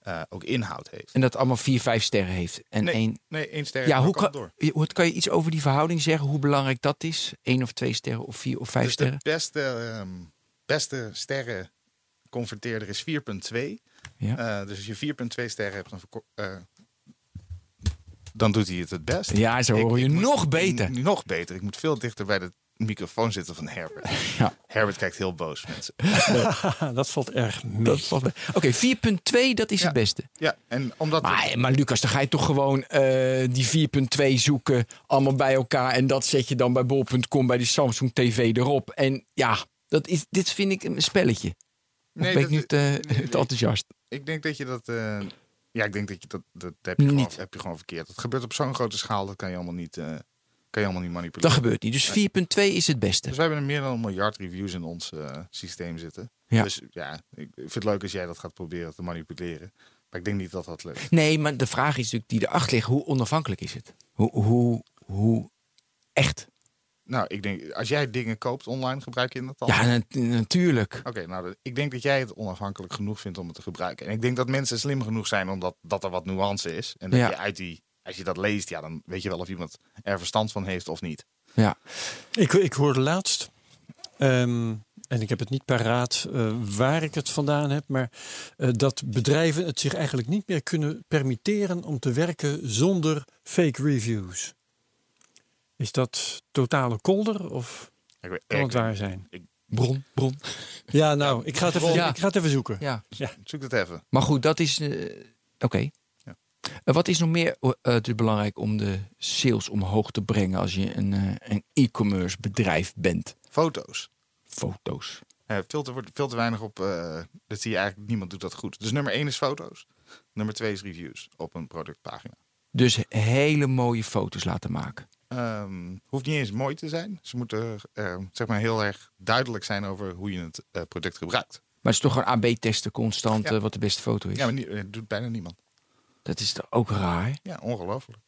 eh, ook inhoud heeft.
En dat allemaal vier, vijf sterren heeft. En
nee,
één.
nee, één ster.
Ja, hoe
kan
kan,
door?
je- hoe- kan je iets over die verhouding zeggen? Hoe belangrijk dat is? Eén of twee sterren of vier of vijf
Dus de
sterren?
beste, ehm, beste sterren converteerder is 4.2.
Ja.
Eh, dus als je 4.2 sterren hebt, dan, verko- eh, dan doet hij het het best.
Ja, zo hoor je nog beter.
ik- nog beter. Ik moet veel dichter bij de microfoon zitten van Herbert.
Ja.
Herbert kijkt heel boos, mensen.
Haha, dat valt erg mee.
Dat valt mee. Oké, 4.2, dat is
Ja.
het beste.
Ja, en omdat...
Maar, maar Lucas, dan ga je toch gewoon eh, die 4.2 zoeken, allemaal bij elkaar. En dat zet je dan bij bol.com, bij die Samsung TV erop. En ja, dat is, dit vind ik een spelletje. Of
Nee,
ben ik
dat-
nu te,
nee, nee.
te enthousiast?
Ik denk dat je dat... eh, ja, ik denk dat je dat... Dat heb je, gewoon,
Niet.
heb je gewoon verkeerd. Dat gebeurt op zo'n grote schaal, dat kan je allemaal niet... eh, Kan je helemaal niet manipuleren.
Dat gebeurt niet. Dus 4.2 is het beste.
Dus we hebben er meer dan een miljard reviews in ons eh, systeem zitten.
Ja.
Dus ja, ik vind het leuk als jij dat gaat proberen te manipuleren. Maar ik denk niet dat dat lukt.
Nee, maar de vraag is natuurlijk die erachter ligt. Hoe onafhankelijk is het? Hoe, hoe, hoe echt?
Nou, ik denk, als jij dingen koopt online, gebruik je dat dan?
Ja, nat- natuurlijk.
Oké, nou, dat- ik denk dat jij het onafhankelijk genoeg vindt om het te gebruiken. En ik denk dat mensen slim genoeg zijn omdat dat er wat nuance is. En dat
Ja.
je uit die, als je dat leest, ja, dan weet je wel of iemand er verstand van heeft of niet.
Ja.
Ik, ik hoorde laatst, ehm, en ik heb het niet paraat eh, waar ik het vandaan heb, maar eh, dat bedrijven het zich eigenlijk niet meer kunnen permitteren om te werken zonder fake reviews. Is dat totale kolder of
Ik weet-
kan
ik-
het waar zijn?
Bron, bron.
Ja, nou, ik ga het even,
Ja.
ik ga het even zoeken.
Ja.
Zoek dat even.
Maar goed, dat is. eh, Oké.
Ja.
Eh, wat is nog meer eh, eh, belangrijk om de sales omhoog te brengen als je een, eh, een e-commerce bedrijf bent?
Foto's.
Foto's.
Eh, veel, te, wordt veel te weinig op. eh, dat zie je eigenlijk. Niemand doet dat goed. Dus nummer één is foto's. Nummer twee is reviews op een productpagina.
Dus hele mooie foto's laten maken.
Ehm, hoeft niet eens mooi te zijn. Ze moeten eh, zeg maar heel erg duidelijk zijn over hoe je het eh, product gebruikt.
Maar het is toch gewoon AB testen constant
Ja.
eh, wat de beste foto is.
Ja, maar niet, eh, doet bijna niemand.
Dat is toch ook raar?
Ja, ongelooflijk.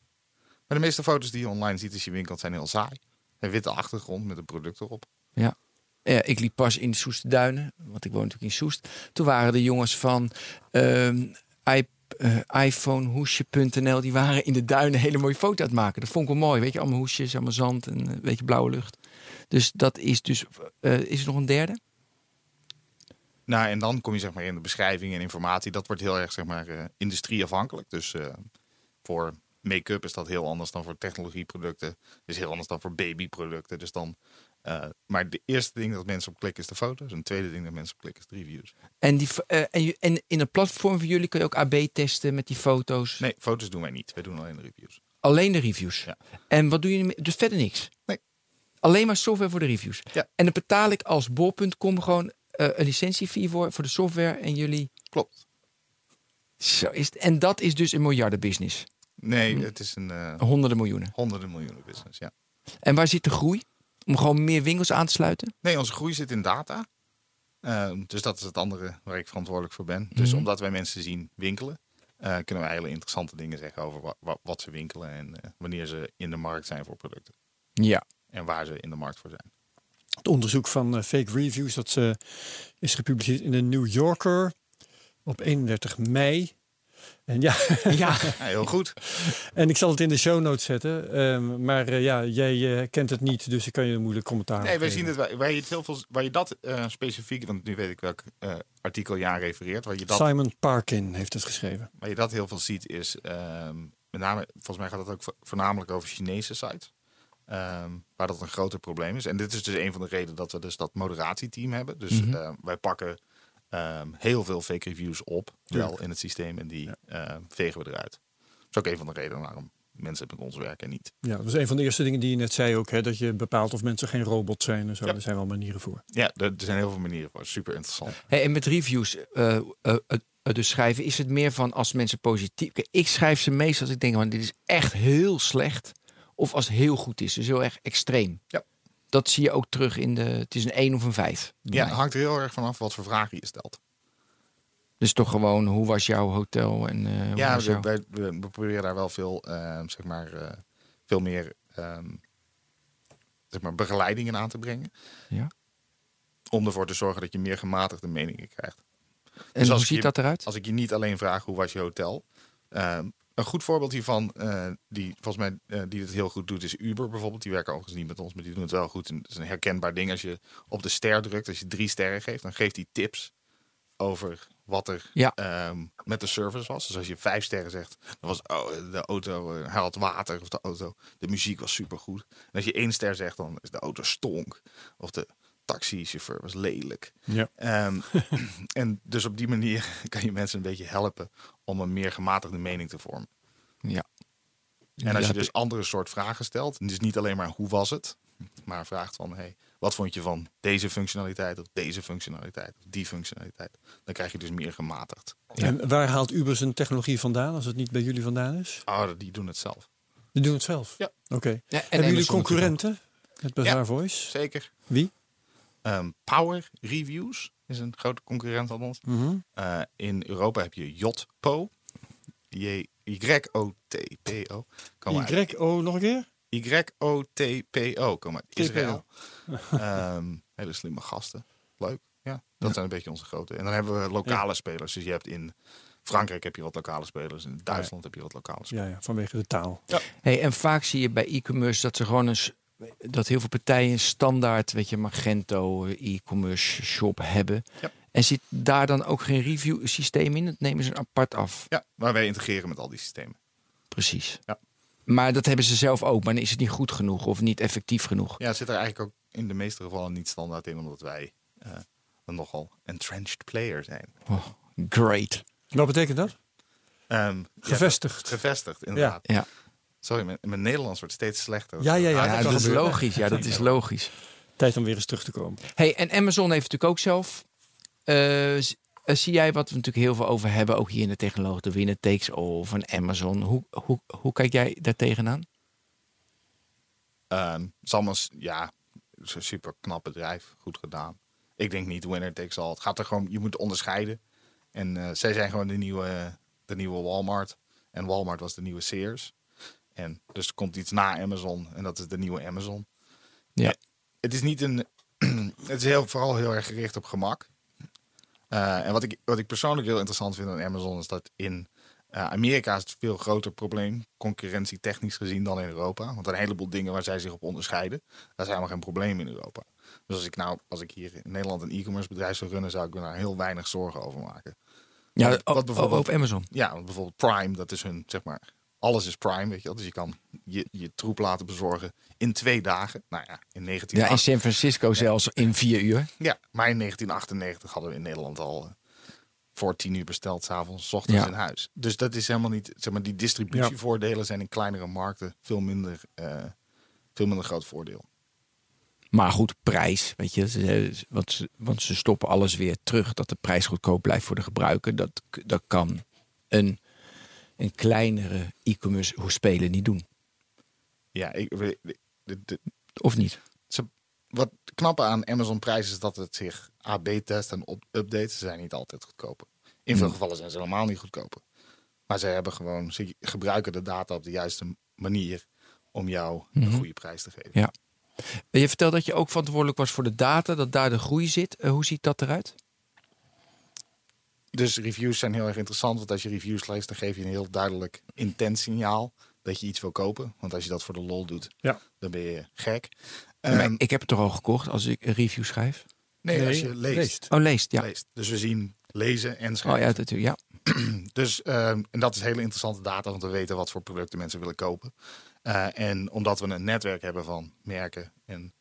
Maar de meeste foto's die je online ziet als je winkelt zijn heel saai. Een witte achtergrond met een product erop.
Ja. Ja, ik liep pas in de Soeste Duinen, want ik woon natuurlijk in Soest. Toen waren de jongens van ehm, i- eh, iPhonehoesje.nl, die waren in de duinen een hele mooie foto aan het maken. Dat vond ik wel mooi, weet je, allemaal hoesjes, allemaal zand en een beetje blauwe lucht. Dus dat is dus, eh, is er nog een derde?
Nou, en dan kom je zeg maar in de beschrijving en informatie. Dat wordt heel erg zeg maar eh, industrieafhankelijk. Dus eh, voor make-up is dat heel anders dan voor technologieproducten. Is heel anders dan voor babyproducten. Dus dan. eh, maar de eerste ding dat mensen op klikken is de foto's. En het tweede ding dat mensen op klikken is de reviews.
En, die, fo- eh, en, je- en in het platform van jullie kun je ook AB testen met die foto's.
Nee, foto's doen wij niet. Wij doen alleen de reviews.
Alleen de reviews.
Ja.
En wat doe je ermee? Dus verder niks.
Nee.
Alleen maar software voor de reviews.
Ja.
En dan betaal ik als bol.com gewoon eh, een licentiefee voor, voor de software en jullie.
Klopt.
Zo is het. En dat is dus een miljardenbusiness.
Nee, het is een eh,
Honderden miljoenen.
honderden miljoenen business. Ja.
En waar zit de groei? Om gewoon meer winkels aan te sluiten?
Nee, onze groei zit in data. Ehm, dus dat is het andere waar ik verantwoordelijk voor ben. Dus omdat wij mensen zien winkelen, eh, kunnen we hele interessante dingen zeggen over wa- wa- wat ze winkelen en eh, wanneer ze in de markt zijn voor producten.
Ja.
En waar ze in de markt voor zijn.
Het onderzoek van eh, fake reviews dat eh, is gepubliceerd in de New Yorker op 31 mei. En ja,
Ja.
Ja, heel goed.
en ik zal het in de show notes zetten. ehm, maar eh, ja, jij eh, kent het niet, dus ik kan je een moeilijk commentaar op
Nee, wij
geven.
zien het, waar- waar je, het heel veel, waar je dat eh, specifiek, want nu weet ik welk eh, artikel je aan refereert, waar je dat
Simon Parkin heeft het geschreven.
Waar je dat heel veel ziet is, ehm, met name, volgens mij gaat dat ook vo- voornamelijk over Chinese sites. ehm, waar dat een groter probleem is. En dit is dus een van de redenen dat we dus dat moderatieteam hebben. Dus ehm, wij pakken ehm, heel veel fake reviews op, wel in het systeem, en die ehm, vegen we eruit. Dat is ook een van de redenen waarom mensen met ons werken en niet.
Ja, dat is een van de eerste dingen die je net zei ook. Hè, dat je bepaalt of mensen geen robot zijn en zo. Daar zijn wel manieren voor.
Ja, er er zijn heel veel manieren voor. Super interessant.
Hey, en met reviews eh, eh, eh, eh, dus schrijven, is het meer van als mensen positief. Kijk, ik schrijf ze meestal als ik denk, van dit is echt heel slecht. Of als het heel goed is. Dus heel erg extreem.
Ja.
Dat zie je ook terug in de. Het is een 1 of een 5.
Ja, het hangt er heel erg vanaf wat voor vragen je stelt.
Dus toch gewoon, hoe was jouw hotel? En, eh, hoe
Ja,
was
we,
jouw-
wij- we, we proberen daar wel veel, ehm, zeg maar, eh, veel meer ehm, zeg maar, begeleidingen aan te brengen.
ja.
Om ervoor te zorgen dat je meer gematigde meningen krijgt. Dus
En hoe
als ik
ziet
je-
dat eruit?
Als ik je niet alleen vraag hoe was je hotel. Ehm, een goed voorbeeld hiervan, eh, die volgens mij eh, die het heel goed doet, is Uber bijvoorbeeld. Die werken overigens niet met ons, maar die doen het wel goed. En het is een herkenbaar ding. Als je op de ster drukt, als je drie sterren geeft, dan geeft hij tips over wat er
Ja.
ehm, met de service was. Dus als je vijf sterren zegt, dan was oh, de auto, eh, hij had water of de auto, de muziek was supergoed. En als je één ster zegt, dan is de auto stonk. Of de taxichauffeur was lelijk.
Ja.
Ehm, en dus op die manier kan je mensen een beetje helpen om een meer gematigde mening te vormen.
Ja.
En als
Ja,
je dus andere soort vragen stelt, dus niet alleen maar hoe was het, maar vraagt van hey, wat vond je van deze functionaliteit of deze functionaliteit of die functionaliteit, dan krijg je dus meer gematigd.
En waar haalt Uber zijn technologie vandaan als het niet bij jullie vandaan is?
Oh, die doen het zelf.
Die doen het zelf?
Ja.
Oké.
en
Hebben jullie
Amazon
concurrenten met Bazaar
Ja.
Voice?
Zeker.
Wie?
Ehm, Power Reviews is een grote concurrent van ons. Eh, in Europa heb je Jotpo. J- Y-O-T-P-O. Kom maar.
Y-O nog een keer?
Y-O-T-P-O. Kom uit
T-P-O.
Israël. Ehm, hele slimme gasten. Leuk. Ja, dat zijn een beetje onze grote. En dan hebben we lokale spelers. Dus je hebt in Frankrijk heb je wat lokale spelers. In Duitsland heb je wat lokale spelers.
Ja, ja, vanwege de taal.
Hey, en vaak zie je bij e-commerce dat ze gewoon eens dat heel veel partijen standaard, weet je, Magento, eh, e-commerce shop hebben.
Ja.
En zit daar dan ook geen review systeem in? Dat nemen ze apart af.
Ja, maar wij integreren met al die systemen.
Precies.
Ja.
Maar dat hebben ze zelf ook. Maar dan is het niet goed genoeg of niet effectief genoeg.
Ja, het zit er eigenlijk ook in de meeste gevallen niet standaard in, omdat wij eh, een nogal entrenched player zijn.
Oh, great.
Wat betekent dat?
Ehm, ja,
Gevestigd.
gevestigd, inderdaad.
Ja,
Sorry, mijn, mijn Nederlands wordt steeds slechter. Ah,
Ja, ja, ja.
ja
kan
dat is
gebeuren.
logisch. Ja, dat is logisch.
Tijd om weer eens terug te komen.
Hey, en Amazon heeft natuurlijk ook zelf. eh, z- eh, zie jij wat we natuurlijk heel veel over hebben, ook hier in de technologie, de winner takes all van Amazon. Hoe, hoe, hoe kijk jij daar tegenaan?
Ehm, Samus, ja, is een super knap bedrijf. Goed gedaan. Ik denk niet winner takes all. Het gaat er gewoon, je moet onderscheiden. En eh, zij zijn gewoon de nieuwe, de nieuwe Walmart. En Walmart was de nieuwe Sears. En dus er komt iets na Amazon. En dat is de nieuwe Amazon.
Ja.
Het is niet een. het is heel, vooral heel erg gericht op gemak. Eh, en wat ik, wat ik persoonlijk heel interessant vind aan Amazon is dat in eh, Amerika is het een veel groter probleem, concurrentie technisch gezien, dan in Europa. Want een heleboel dingen waar zij zich op onderscheiden, daar zijn helemaal geen probleem in Europa. Dus als ik nou, als ik hier in Nederland een e-commerce bedrijf zou runnen, zou ik me daar heel weinig zorgen over maken.
Ja,
Wat-
Eh, o-
wat bijvoorbeeld-
over Amazon.
Ja, want bijvoorbeeld Prime, dat is hun, zeg maar, alles is Prime, weet je wel. Dus je kan je, je troep laten bezorgen in twee dagen. Nou ja, in 19
Ja, in San Francisco zelfs in vier uur.
ja, maar in 1998 hadden we in Nederland al eh, voor tien uur besteld, s'avonds, 's ochtends
Ja.
in huis. Dus dat is helemaal niet, zeg maar, die distributievoordelen zijn in kleinere markten veel minder, eh, veel minder groot voordeel.
Maar goed, prijs. Weet je, ze- want, ze, want ze stoppen alles weer terug. Dat de prijs goedkoop blijft voor de gebruiker. Dat, k- dat kan een, een kleinere e-commerce speler niet doen.
Ja, ik, we- de- de- de-
Of niet?
ze, wat knappe aan Amazon prijs is dat het zich AB test en op, update. Ze zijn niet altijd goedkoper. In veel gevallen zijn ze helemaal niet goedkoper. Maar ze hebben gewoon, ze gebruiken de data op de juiste manier om jou een goede prijs te geven.
Ja. Je vertelt dat je ook verantwoordelijk was voor de data, dat daar de groei zit. Eh, hoe ziet dat eruit?
Dus reviews zijn heel erg interessant, want als je reviews leest, dan geef je een heel duidelijk intent signaal dat je iets wil kopen. Want als je dat voor de lol doet,
Ja.
dan ben je gek.
Maar
Ehm,
ik heb het toch al gekocht als ik een review schrijf?
nee,
Nee,
als je leest.
leest.
Oh, leest, ja.
Leest. Dus we zien lezen en
Oh
schrijven.
ja, natuurlijk, ja.
Dus ehm, en dat is hele interessante data, want we weten wat voor producten mensen willen kopen. Eh, en omdat we een netwerk hebben van merken en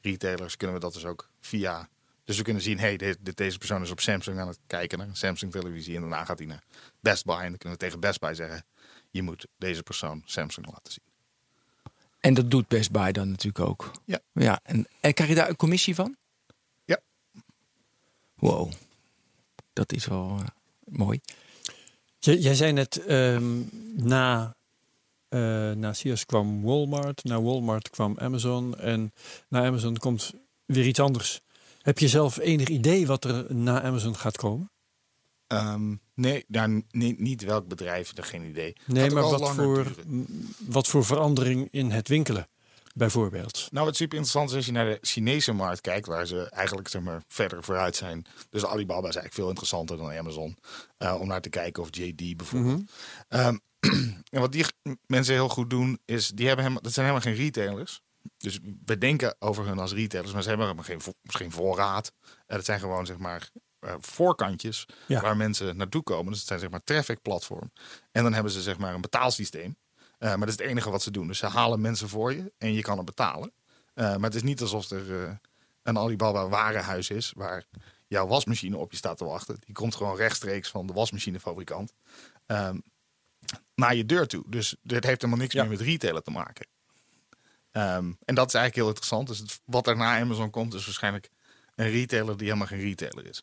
retailers, kunnen we dat dus ook via. Dus we kunnen zien, hey, de- de- deze persoon is op Samsung aan het kijken naar een Samsung televisie. En daarna gaat hij naar Best Buy. En dan kunnen we tegen Best Buy zeggen, je moet deze persoon Samsung laten zien.
En dat doet Best Buy dan natuurlijk ook.
Ja.
ja en, en krijg je daar een commissie van?
Ja.
Wow. Dat is wel eh, mooi.
J- jij zei net, ehm, na, eh na Sears kwam Walmart, na Walmart kwam Amazon en na Amazon komt weer iets anders. Heb je zelf enig idee wat er na Amazon gaat komen?
Ehm, nee, daar, nee, niet welk bedrijf, daar geen idee. Gaat
Nee,
ook
maar
al
wat
langer
voor,
duren.
m, wat voor verandering in het winkelen, bijvoorbeeld?
Nou, wat super interessant is als je naar de Chinese markt kijkt, waar ze eigenlijk zeg maar, verder vooruit zijn. Dus Alibaba is eigenlijk veel interessanter dan Amazon. eh, om naar te kijken of JD bijvoorbeeld. Ehm, en wat die g- mensen heel goed doen, is die hebben helemaal, dat zijn helemaal geen retailers. Dus we denken over hun als retailers, maar ze hebben helemaal geen, vo- geen voorraad. Eh, dat zijn gewoon zeg maar eh, voorkantjes
Ja.
waar mensen naartoe komen. Dus het zijn zeg maar traffic platform. En dan hebben ze zeg maar een betaalsysteem. Eh, maar dat is het enige wat ze doen. Dus ze halen mensen voor je en je kan het betalen. Eh, maar het is niet alsof er eh, een Alibaba warenhuis is waar jouw wasmachine op je staat te wachten. Die komt gewoon rechtstreeks van de wasmachinefabrikant ehm, naar je deur toe. Dus dit heeft helemaal niks
Ja.
meer met retailen te maken. Ehm, en dat is eigenlijk heel interessant. Dus het- wat er na Amazon komt, is waarschijnlijk een retailer die helemaal geen retailer is.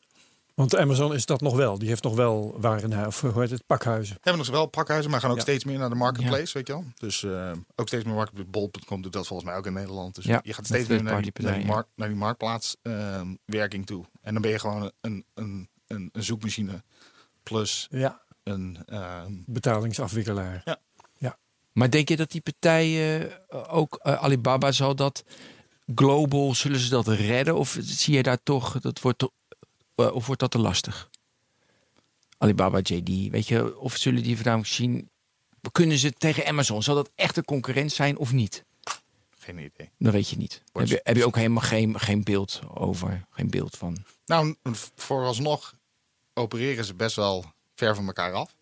Want Amazon is dat nog wel. Die heeft nog wel warenhuis, of hoe heet het, pakhuizen.
Hebben nog wel pakhuizen, maar gaan ook
Ja.
steeds meer naar de marketplace, weet je wel. Dus eh, ook steeds meer marketplace. Bol.com doet dat volgens mij ook in Nederland. Dus
Ja,
je gaat
met
steeds meer naar die,
third-party
naar die,
partijen.
mark- naar die marktplaatswerking werking toe. En dan ben je gewoon een, een, een, een zoekmachine plus
Ja.
een... ehm,
Betalingsafwikkelaar.
Ja.
ja.
Maar denk je dat die partijen, eh, ook eh, Alibaba, zal dat global, zullen ze dat redden? Of zie je daar toch, dat wordt te- eh, of wordt dat te lastig? Alibaba, JD, weet je, of zullen die voornamelijk zien, kunnen ze tegen Amazon, zal dat echt een concurrent zijn of niet?
geen idee.
Dat weet je niet. Daar Heb je, heb je ook helemaal geen, geen beeld over, geen beeld van.
Nou, n- vooralsnog opereren ze best wel ver van elkaar af.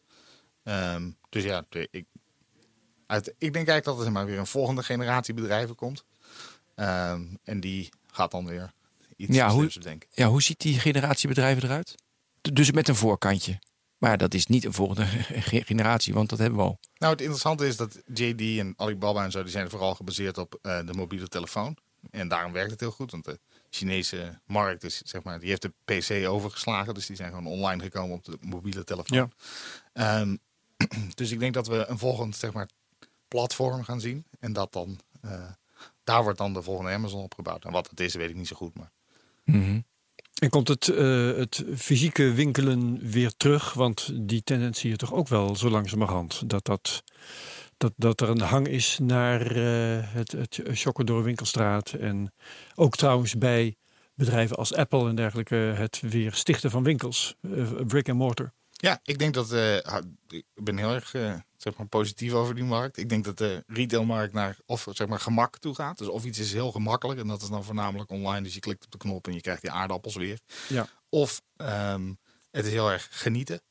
Ehm, dus ja, de- ik, uit, ik denk eigenlijk dat er zeg maar, weer een volgende generatie bedrijven komt. Ehm, en die gaat dan weer iets
Ja,
ja,
hoe-
denken.
Ja, hoe ziet die generatie bedrijven eruit? D- Dus met een voorkantje. Maar dat is niet een volgende ge- generatie, want dat hebben we al.
Nou, het interessante is dat JD en Alibaba en zo, die zijn vooral gebaseerd op eh, de mobiele telefoon. En daarom werkt het heel goed, want de Chinese markt is, zeg maar, die heeft de PC overgeslagen. Dus die zijn gewoon online gekomen op de mobiele telefoon.
Ja.
Ehm, dus ik denk dat we een volgend, zeg maar, platform gaan zien. En dat dan, eh, daar wordt dan de volgende Amazon opgebouwd. En wat het is, weet ik niet zo goed, maar...
En komt het, eh, het fysieke winkelen weer terug? Want die tendens zie je toch ook wel zo langzamerhand. Dat, dat, dat, dat er een hang is naar eh, het, het shoppen door winkelstraat. En ook trouwens bij bedrijven als Apple en dergelijke. Het weer stichten van winkels. eh, brick and mortar.
Ja, ik denk dat. eh, ha- ik ben heel erg eh, zeg maar positief over die markt. Ik denk dat de retailmarkt naar of zeg maar gemak toe gaat. Dus of iets is heel gemakkelijk en dat is dan voornamelijk online. Dus je klikt op de knop en je krijgt die aardappels weer.
Ja.
Of ehm, het is heel erg genieten.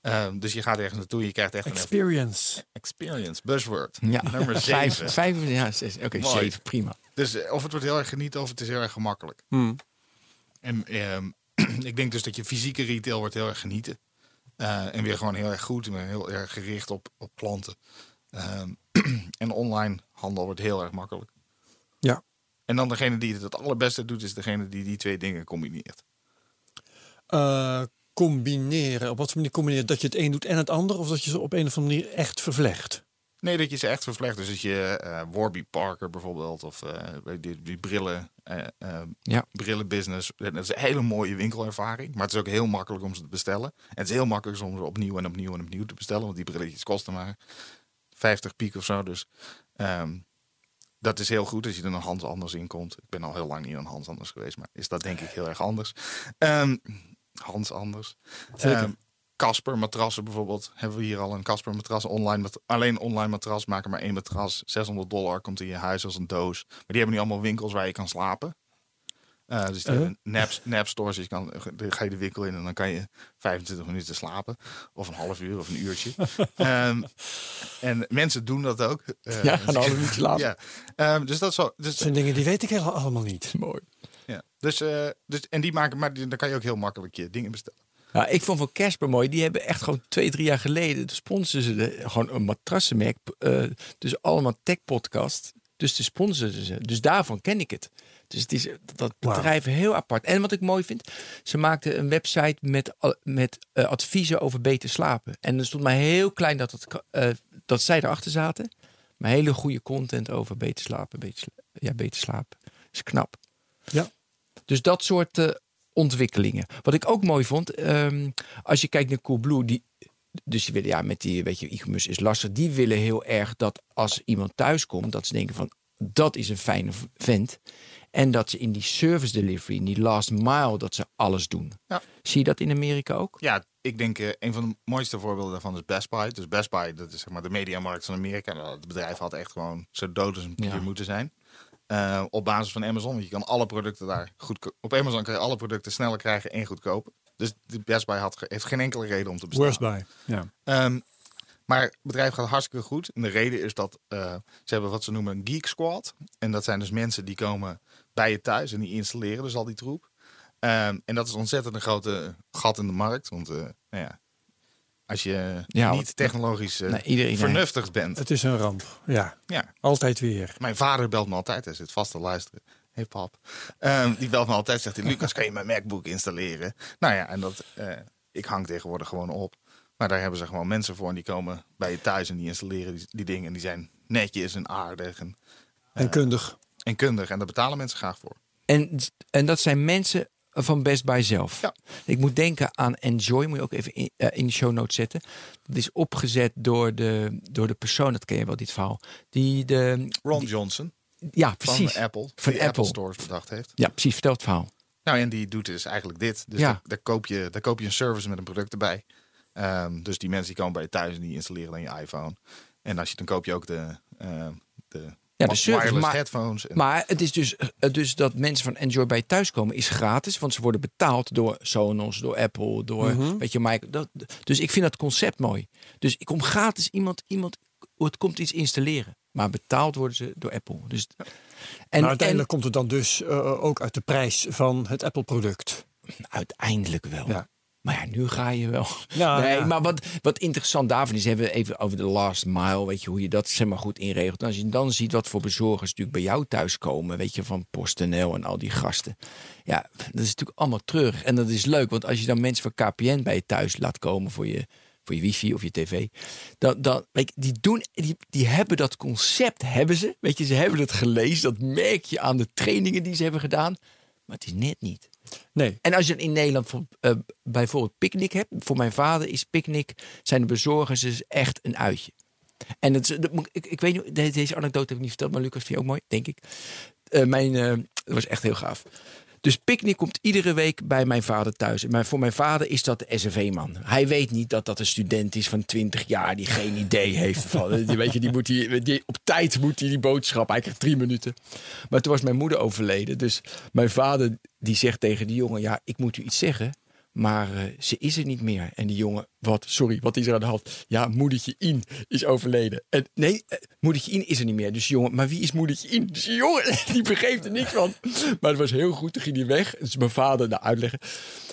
Ehm, dus je gaat ergens naartoe en je krijgt echt een
Experience.
experience, buzzword.
Ja.
Nummer
Vijf,
7.
vijf- ja, zes. Oké,
Mooi.
zeven, prima.
Dus eh, of het wordt heel erg genieten of het is heel erg gemakkelijk. En ehm, ik denk dus dat je fysieke retail wordt heel erg genieten. Eh, en weer gewoon heel erg goed. En heel erg gericht op, op klanten. Ehm, en online handel wordt heel erg makkelijk.
Ja.
En dan degene die het het allerbeste doet, is degene die die twee dingen combineert.
Eh, combineren. Op wat voor manier combineren? Dat je het een doet en het ander? Of dat je ze op een of andere manier echt vervlecht?
Nee, dat je ze echt vervlecht. Dus dat je eh Warby Parker bijvoorbeeld, of eh, die, die brillen, eh, eh,
Ja.
brillenbusiness. Dat is een hele mooie winkelervaring. Maar het is ook heel makkelijk om ze te bestellen. En het is heel makkelijk om ze opnieuw en opnieuw en opnieuw te bestellen. Want die brilletjes kosten maar 50 piek of zo. Dus ehm, dat is heel goed als je er een Hans anders in komt. Ik ben al heel lang niet een Hans anders geweest. Maar is dat denk ik heel erg anders. Ehm, Hans anders.
Zeker.
Ehm, Casper matrassen bijvoorbeeld. Hebben we hier al een Casper matras. Online mat- alleen online matras. Maak er maar één matras. 600 dollar komt in je huis als een doos. Maar die hebben nu allemaal winkels waar je kan slapen. Eh, dus die
Uh-huh.
Eh?
hebben nap, nap stores. Dus je kan, dan ga je de winkel in en dan kan je 25 minuten slapen. Of een half uur of een uurtje. Ehm, en mensen doen dat ook. Eh,
Ja,
dus-
een half uurtje later.
Ja. Ehm, dus dat is wel-
Dat
Dus,
zijn dingen die weet ik helemaal allemaal niet.
Mooi.
ja. dus, eh, dus, en die maken, maar die- dan kan je ook heel makkelijk je dingen bestellen.
Nou, ik vond van Casper mooi. Die hebben echt gewoon twee, drie jaar geleden sponsoren ze de, gewoon een matrassenmerk. eh, dus allemaal tech podcast. Dus de sponsoren ze. Dus daarvan ken ik het. Dus het is eh, dat bedrijf heel apart. En wat ik mooi vind, ze maakten een website met, al- met eh, adviezen over beter slapen. En er stond maar heel klein dat, het, ka- eh, dat zij erachter zaten. Maar hele goede content over beter slapen. Beter, sla- ja, beter slapen. is knap.
Ja.
Dus dat soort eh, ontwikkelingen. Wat ik ook mooi vond, ehm, als je kijkt naar Coolblue, die, dus die willen ja, met die, weet je, e-commerce is lastig. Die willen heel erg dat als iemand thuis komt, dat ze denken van, dat is een fijne v- vent. En dat ze in die service delivery, in die last mile, dat ze alles doen.
Ja.
Zie je dat in Amerika ook?
Ja, ik denk eh, een van de mooiste voorbeelden daarvan is Best Buy. Dus Best Buy, dat is zeg maar de mediamarkt van Amerika. Nou, het bedrijf had echt gewoon zo dood als een pier
Ja.
moeten zijn. Eh, op basis van Amazon, want je kan alle producten daar goed Op Amazon kan je alle producten sneller krijgen en goedkoper. Dus de Best Buy had, ge- heeft geen enkele reden om te bestaan.
Worst by. Ja.
Ehm, maar het bedrijf gaat hartstikke goed. En de reden is dat eh, ze hebben wat ze noemen een geek squad. En dat zijn dus mensen die komen bij je thuis en die installeren dus al die troep. Ehm, en dat is ontzettend een grote gat in de markt. Want eh, nou ja, als je
Ja,
niet
want-
technologisch eh,
Nee, iedereen-
vernuftig bent.
Het is een ramp. Ja.
Ja.
Altijd weer.
Mijn vader belt me altijd, hij zit vast te luisteren. Hey pap. Ehm, die belt me altijd, zegt hij, Lucas, kan je mijn MacBook installeren? Nou ja, en dat, eh, ik hang tegenwoordig gewoon op. Maar daar hebben ze gewoon mensen voor en die komen bij je thuis en die installeren die, die dingen. En die zijn netjes en aardig en,
En kundig.
en kundig. En daar betalen mensen graag voor.
En, en dat zijn mensen van Best Buy zelf.
Ja.
Ik moet denken aan Enjoy, moet je ook even in, eh, in de show notes zetten. Dat is opgezet door de, door de persoon, dat ken je wel, dit verhaal. Die de,
Ron Johnson
ja,
van
precies.
Apple,
Van
die
Apple.
Apple Stores bedacht heeft.
Ja, precies, vertel het verhaal.
Nou, en die doet dus eigenlijk dit. Dus
Ja.
daar, daar koop je, daar koop je een service met een product erbij. Ehm, dus die mensen die komen bij je thuis en die installeren dan je iPhone. En als je, dan koop je ook de, ehm, de,
Ja, de
wi-
service,
wireless
maar-
headphones. En,
Maar het is dus, eh, dus dat mensen van Enjoy bij je thuiskomen is gratis. Want ze worden betaald door Sonos, door Apple, door
Mhm.
weet je, Mike. Dat, dus ik vind dat concept mooi. Dus ik kom gratis iemand, iemand het komt iets installeren. Maar betaald worden ze door Apple. Dus, en,
maar uiteindelijk komt het dan dus eh, ook uit de prijs van het Apple-product.
en- uiteindelijk wel.
Ja.
Maar ja, nu ga je wel.
Ja,
nee,
ja.
maar wat, wat interessant daarvan is, hebben we even over de last mile. Weet je, hoe je dat zeg maar goed inregelt. En als je dan ziet wat voor bezorgers natuurlijk bij jou thuis komen. Weet je, van PostNL en al die gasten. Ja, dat is natuurlijk allemaal terug. En dat is leuk, want als je dan mensen van KPN bij je thuis laat komen voor je, voor je wifi of je tv. Dan, dan, weet je, die, doen, die, die hebben dat concept, hebben ze. Weet je, ze hebben het gelezen. Dat merk je aan de trainingen die ze hebben gedaan. Maar het is net niet.
Nee.
En als je in Nederland voor, eh, bijvoorbeeld picknick hebt. Voor mijn vader is picknick, zijn de bezorgers dus echt een uitje. En het, is- dat moet ik, ik weet niet, de- deze anekdote heb ik niet verteld, maar Lucas vind je ook mooi, denk ik. Eh, mijn, eh, dat was echt heel gaaf. Dus picknick komt iedere week bij mijn vader thuis. Maar voor mijn vader is dat de SRV-man. Hij weet niet dat dat een student is van 20 jaar die geen idee heeft van. Die, weet je, die moet die, die, op tijd moet hij die boodschap. Hij krijgt drie minuten. Maar toen was mijn moeder overleden. Dus mijn vader die zegt tegen die jongen: Ja, ik moet u iets zeggen. Maar eh, ze is er niet meer. En die jongen, wat, sorry, wat is er aan de hand? Ja, moedertje In is overleden. En, nee, eh, moedertje In is er niet meer. Dus die jongen, maar wie is moedertje In? Dus die jongen, die begreep er niks van. Maar het was heel goed, toen ging hij weg. Dus mijn vader, nou uitleggen.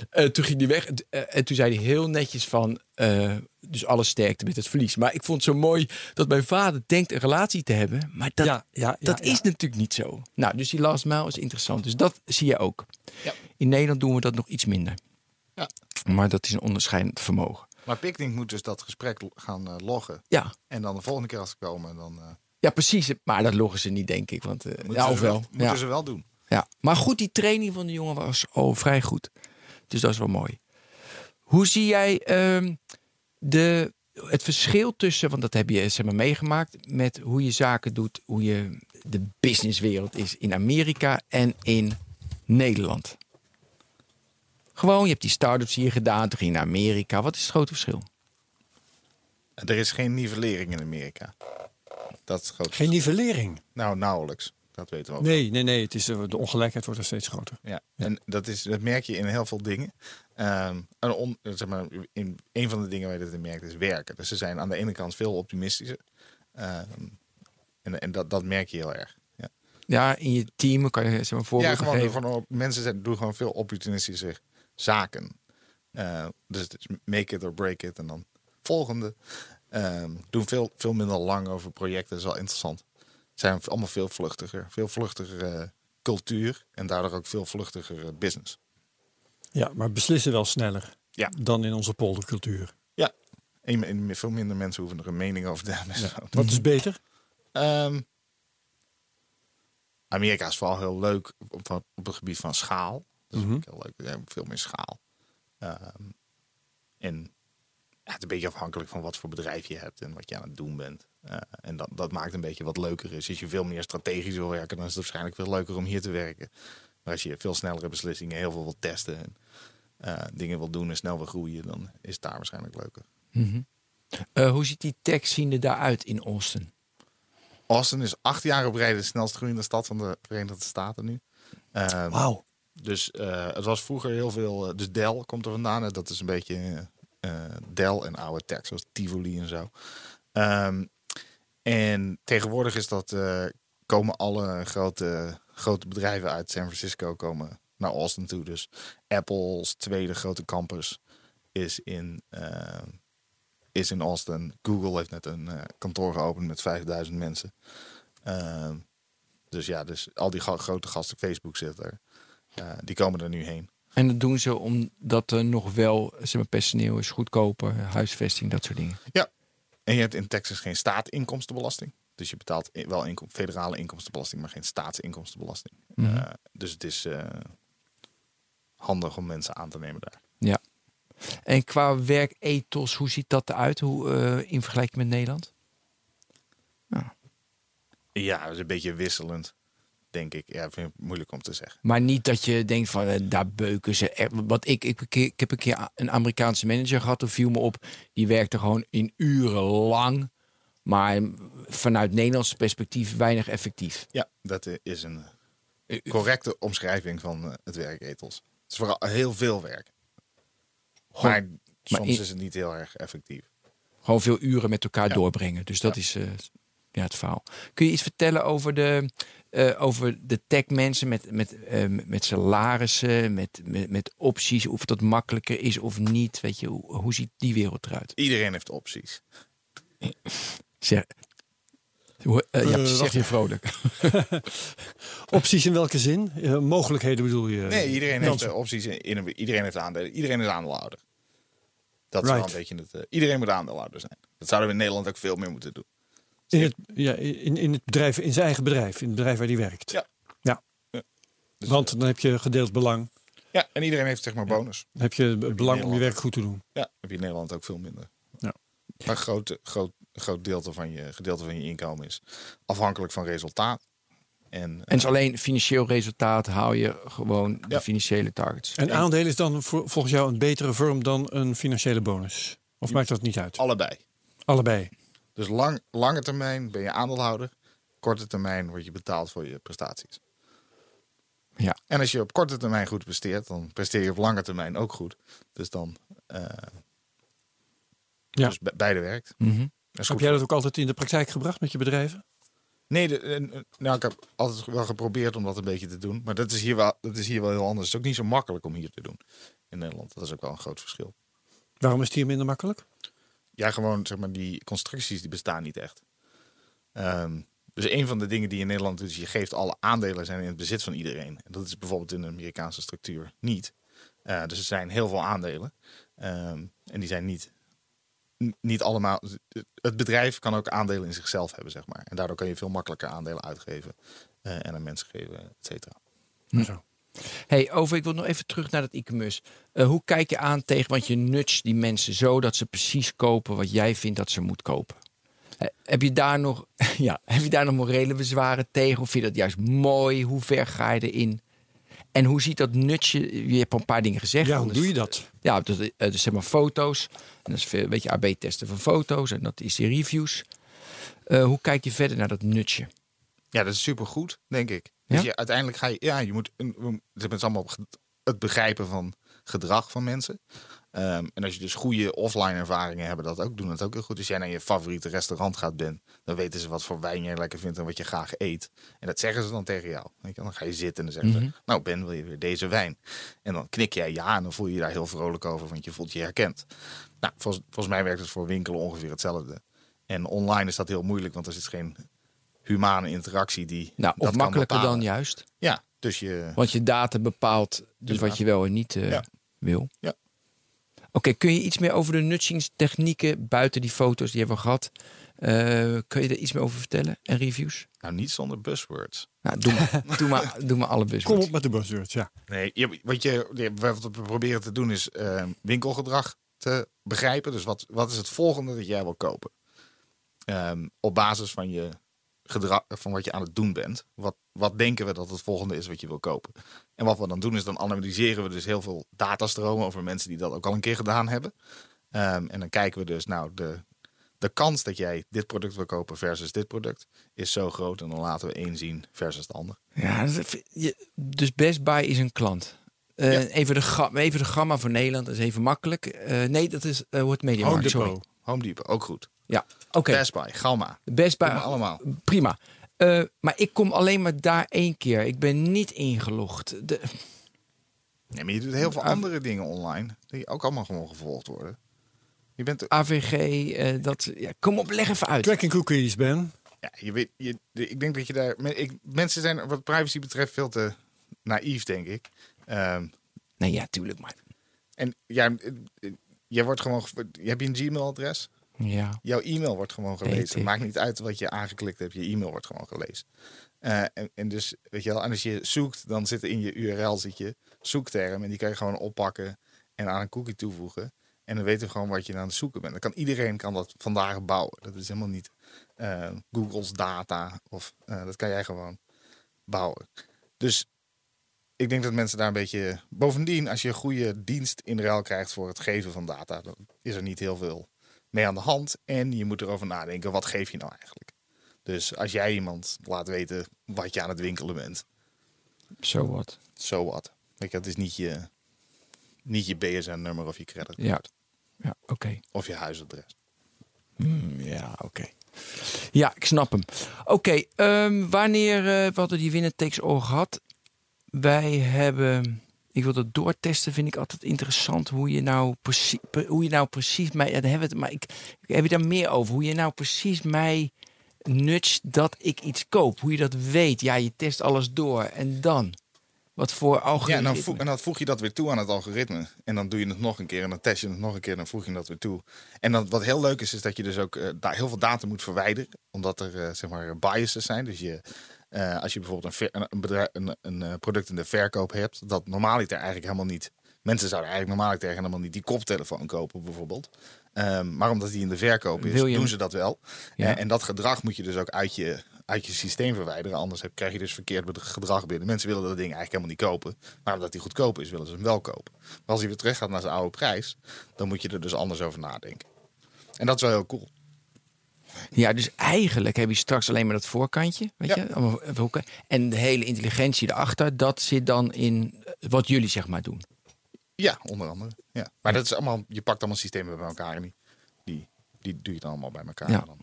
Eh, toen ging hij weg en, eh, en toen zei hij heel netjes van... eh, dus alle sterkte met het verlies. Maar ik vond het zo mooi dat mijn vader denkt een relatie te hebben. Maar dat,
Ja, ja, ja,
dat
ja.
is natuurlijk niet zo. Nou, dus die last mile is interessant. Dus dat zie je ook. In Nederland doen we dat nog iets minder.
ja.
Maar dat is een onderscheidend vermogen.
maar Picnic moet dus dat gesprek lo- gaan eh, loggen.
Ja,
En dan de volgende keer als ze komen, dan eh,
ja precies. Maar dat loggen ze niet, denk ik. Want, eh,
moeten,
ja,
ze,
of wel.
moeten
ja.
ze wel doen.
ja. Maar goed, die training van de jongen was al vrij goed. Dus dat is wel mooi. Hoe zie jij ehm, de, het verschil tussen, want dat heb je zeg maar, meegemaakt, met hoe je zaken doet, hoe je de businesswereld is in Amerika en in Nederland? Gewoon, je hebt die start-ups hier gedaan, toen ging je naar Amerika. Wat is het grote verschil?
Er is geen nivellering in Amerika. Dat is groot.
Geen nivellering.
Nou, nauwelijks. Dat weten we ook.
Nee, nee, nee. Het is, eh, de ongelijkheid wordt er steeds groter.
Ja, en dat, is, dat merk je in heel veel dingen. Ehm, en on- zeg maar, in, een van de dingen waar je dat in merkt is werken. Dus ze zijn aan de ene kant veel optimistischer. Ehm, en en dat, dat merk je heel erg. Ja,
Ja, in je team kan je zeg maar
ja
voorbeelden
gewoon,
geven.
gewoon op- mensen zijn, doen gewoon veel opportunistischer zaken. Eh, dus het is make it or break it en dan volgende. Ehm, doen veel, veel minder lang over projecten, dat is wel interessant. Zijn allemaal veel vluchtiger. Veel vluchtiger eh, cultuur en daardoor ook veel vluchtiger eh, business.
Ja, maar beslissen wel sneller
Ja.
dan in onze poldercultuur.
Ja. En, en veel minder mensen hoeven er een mening over te hebben.
Wat is beter?
Ehm, Amerika is vooral heel leuk op, op, het gebied van schaal. Dat is ook heel leuk. We hebben veel meer schaal. Ehm, en ja, het is een beetje afhankelijk van wat voor bedrijf je hebt en wat je aan het doen bent. Eh, en dat, dat maakt een beetje wat leuker is. Als je veel meer strategisch wil werken, dan is het waarschijnlijk veel leuker om hier te werken. Maar als je veel snellere beslissingen, heel veel wil testen en eh, dingen wil doen en snel wil groeien, dan is het daar waarschijnlijk leuker.
Eh, hoe ziet die techscene daaruit in Austin?
Austin is acht jaar op rij de snelst groeiende stad van de Verenigde Staten nu. Ehm,
Wauw.
Dus eh, het was vroeger heel veel. eh, dus Dell komt er vandaan. En dat is een beetje eh, eh, Dell en oude tech, zoals Tivoli en zo. Ehm, en tegenwoordig is dat. eh, komen alle grote, grote bedrijven uit San Francisco komen naar Austin toe. Dus Apple's tweede grote campus is in. eh, is in Austin. Google heeft net een eh, kantoor geopend met 5000 mensen. Ehm, Dus ja, dus al die ga- grote gasten, Facebook zit er. Eh, die komen er nu heen.
En dat doen ze omdat er nog wel zeg maar, personeel is goedkoper, huisvesting, dat soort dingen.
Ja. En je hebt in Texas geen staatinkomstenbelasting. Dus je betaalt i- wel inkom- federale inkomstenbelasting, maar geen staatsinkomstenbelasting. Eh, dus het is eh, handig om mensen aan te nemen daar.
Ja. En qua werkethos, hoe ziet dat eruit hoe, eh, in vergelijking met Nederland? Ja.
Ja, dat is een beetje wisselend, denk ik. Ja, vind ik moeilijk om te zeggen.
Maar niet dat je denkt van eh, daar beuken ze. echt. Wat ik, ik, ik heb een keer a- een Amerikaanse manager gehad, dat viel me op. Die werkte gewoon in uren lang, maar vanuit Nederlands perspectief weinig effectief.
Ja, dat eh, is een correcte omschrijving van eh, het werketels. Het is vooral heel veel werk.
Gewoon-
maar soms
in-
is het niet heel erg effectief.
Gewoon veel uren met elkaar
Ja.
doorbrengen. Dus dat
Ja.
is eh, ja, het verhaal. Kun je iets vertellen over de, eh, over de techmensen met, met, eh, met salarissen, met, met, met opties, of dat makkelijker is of niet? Weet je, hoe, hoe ziet die wereld eruit?
Iedereen heeft opties.
Zeg, hoe, eh, ja,
Eh,
zeg
wacht.
je vrolijk.
Opties in welke zin? Eh, mogelijkheden bedoel je?
Nee, iedereen heeft
Jansen?
eh, opties. In, in een- iedereen heeft aandelen. Iedereen is aandeelhouder. Dat is wel
Right.
een beetje het. eh, iedereen moet aandeelhouder zijn. Dat zouden we in Nederland ook veel meer moeten doen.
In het, ja, in, in het bedrijf, in zijn eigen bedrijf, in het bedrijf waar hij werkt.
Ja.
ja.
Dus,
Want
eh,
dan heb je gedeeld belang.
ja, en iedereen heeft zeg maar bonus.
Dan heb je het belang om je
Nederland.
werk goed te doen.
Ja, heb je in Nederland ook veel minder.
Ja.
Maar een groot, eh, groot, groot deelte van je, gedeelte van je inkomen is afhankelijk van resultaat. En, eh,
En is alleen financieel resultaat haal je gewoon
Ja.
de financiële targets.
En aandelen is dan voor- volgens jou een betere vorm dan een financiële bonus? Of maakt dat niet uit?
allebei.
Allebei.
Dus lang, lange termijn ben je aandeelhouder. Korte termijn word je betaald voor je prestaties.
Ja.
En als je op korte termijn goed presteert, dan presteer je op lange termijn ook goed. Dus dan, eh,
Ja.
dus be- beide werkt.
Mhm.
Dat is
heb
goed.
jij dat ook altijd in de praktijk gebracht met je bedrijven?
Nee, de- eh, eh, nou, ik heb altijd wel geprobeerd om dat een beetje te doen. Maar dat is hier wel, dat is hier wel heel anders. Het is ook niet zo makkelijk om hier te doen in Nederland. Dat is ook wel een groot verschil.
Waarom is het hier minder makkelijk?
Ja, gewoon zeg maar, die constructies die bestaan niet echt. Ehm, dus een van de dingen die je in Nederland doet, is je geeft alle aandelen zijn in het bezit van iedereen. En dat is bijvoorbeeld in de Amerikaanse structuur niet. Eh, dus er zijn heel veel aandelen. Ehm, en die zijn niet, n- niet allemaal. Het bedrijf kan ook aandelen in zichzelf hebben, zeg maar. En daardoor kan je veel makkelijker aandelen uitgeven eh, en aan mensen geven, et cetera.
Zo.
Hey, over, ik wil nog even terug naar dat e-commerce. Eh, hoe kijk je aan tegen, want je nudge die mensen zo dat ze precies kopen wat jij vindt dat ze moet kopen. Eh, heb, je daar nog, ja, heb je daar nog morele bezwaren tegen? Of vind je dat juist mooi? Hoe ver ga je erin? En hoe ziet dat nudge? Je hebt al een paar dingen gezegd.
Ja, hoe
anders-
doe je dat?
ja, dus, eh, dus zeg maar foto's. En dat is veel- een beetje AB-testen van foto's. En dat is die reviews. Eh, hoe kijk je verder naar dat nutje?
Ja, dat is supergoed, denk ik. Dus
Ja?
je, uiteindelijk ga je, ja, je moet, een- we- het is allemaal op ge- het begrijpen van gedrag van mensen. Ehm, en als je dus goede offline ervaringen hebben, dat ook, doen dat ook heel goed. Als jij naar je favoriete restaurant gaat bent, dan weten ze wat voor wijn jij lekker vindt en wat je graag eet. En dat zeggen ze dan tegen jou. Weet je, dan ga je zitten en dan zeggen ze, nou Ben, wil je weer deze wijn? En dan knik jij ja en dan voel je je daar heel vrolijk over, want je voelt je herkend. Nou, volgens, volgens mij werkt het voor winkelen ongeveer hetzelfde. En online is dat heel moeilijk, want er zit geen humane interactie die
Nou, of
dat kan
makkelijker
bepalen.
dan juist.
Ja, dus je...
Want je data bepaalt dus wat je wel en niet eh,
Ja.
wil.
Ja.
Oké, kun je iets meer over de nudgingstechnieken buiten die foto's die hebben we gehad? eh, kun je er iets meer over vertellen en reviews?
Nou, niet zonder buzzwords.
Nou, doe maar, doe maar, doe maar alle
Kom
buzzwords.
op met de buzzwords, ja.
Nee, je, wat, je, je- wat we proberen te doen is eh, winkelgedrag te begrijpen. Dus wat, wat is het volgende dat jij wil kopen? Ehm, op basis van je gedrag, van wat je aan het doen bent. Wat, wat denken we dat het volgende is wat je wil kopen? En wat we dan doen is dan analyseren we dus heel veel datastromen over mensen die dat ook al een keer gedaan hebben. Ehm, en dan kijken we dus, nou, de, de kans dat jij dit product wil kopen versus dit product is zo groot. En dan laten we één zien versus de ander.
Ja, dat vind je- dus Best Buy is een klant. Eh, even, de ga- even de gamma voor Nederland, dat is even makkelijk. Eh, nee, dat is eh, hoe het media
Home
Markt, sorry.
Depot.
Home Depot, ook goed.
Ja, oké.
Best Buy, Gamma.
Best Buy.
Doe maar allemaal.
Prima. Eh, maar ik kom alleen maar daar één keer. Ik ben niet ingelogd. De,
Nee, maar je doet
eh,
heel veel andere dingen online. Die ook allemaal gewoon gevolgd worden. Je bent...
AVG, eh, dat. Ja, kom op, leg even uit.
Tracking cookies, Ben.
Ja, je weet, je, de- ik denk dat je daar. men- ik- mensen zijn wat privacy betreft veel te naïef, denk ik. Ehm,
Nee, ja, tuurlijk, maar...
en ja, je wordt gewoon. ge- Je hebt je een Gmail-adres.
Ja.
Jouw e-mail wordt gewoon
Weet
gelezen.
ik.
Het maakt niet uit wat je aangeklikt hebt. Je e-mail wordt gewoon gelezen. Eh, en, en dus, weet je wel, en als je zoekt, dan zit er in je URL zit je zoekterm. En die kan je gewoon oppakken en aan een cookie toevoegen. En dan weten we gewoon wat je aan het zoeken bent. Dan kan iedereen kan dat vandaag bouwen. Dat is helemaal niet eh, Google's data. Of, eh, dat kan jij gewoon bouwen. Dus ik denk dat mensen daar een beetje. Bovendien, als je een goede dienst in ruil krijgt voor het geven van data, dan is er niet heel veel mee aan de hand. En je moet erover nadenken: wat geef je nou eigenlijk? Dus als jij iemand laat weten wat je aan het winkelen bent,
Zo wat.
zo wat. Weet je, dat is niet je, niet je BSN-nummer of je creditcard
Ja. Ja, oké.
of je huisadres.
Hmm, Ja, oké. Ja, ik snap hem. Oké, ehm, wanneer eh, we hadden die winner takes all gehad. Wij hebben... Ik wil dat doortesten, vind ik altijd interessant. Hoe je nou, precies, hoe je nou precies mij... Ja, daar hebben we het, maar ik, heb je daar meer over? Hoe je nou precies mij nudge dat ik iets koop. Hoe je dat weet. Ja, je test alles door. En dan? Wat voor
Ja,
algoritme?
en dan, voeg, en dan voeg je dat weer toe aan het algoritme. En dan doe je het nog een keer en dan test je het nog een keer en dan voeg je dat weer toe. En dan, wat heel leuk is, is dat je dus ook eh, da- heel veel data moet verwijderen. Omdat er eh, zeg maar biases zijn. Dus je, eh, als je bijvoorbeeld een, ver- een, een bedrijf, een, een eh, product in de verkoop hebt, dat normaliter eigenlijk helemaal niet... Mensen zouden eigenlijk normaliter helemaal niet die koptelefoon kopen bijvoorbeeld. Ehm, maar omdat die in de verkoop is,
Wil je
doen
hem?
ze dat wel.
Ja.
Eh, en dat gedrag moet je dus ook uit je, uit je systeem verwijderen. Anders heb, krijg je dus verkeerd bed- gedrag binnen. Mensen willen dat ding eigenlijk helemaal niet kopen. Maar omdat hij goedkoop is, willen ze hem wel kopen. Maar als hij weer terug gaat naar zijn oude prijs, dan moet je er dus anders over nadenken. En dat is wel heel cool.
Ja, dus eigenlijk heb je straks alleen maar dat voorkantje, weet
Ja.
je, allemaal hoeken. En de hele intelligentie erachter, dat zit dan in eh, wat jullie zeg maar doen.
Ja, onder andere. Ja. Maar dat is allemaal, je pakt allemaal systemen bij elkaar. En die, die, die doe je dan allemaal bij elkaar.
Ja.
En Dan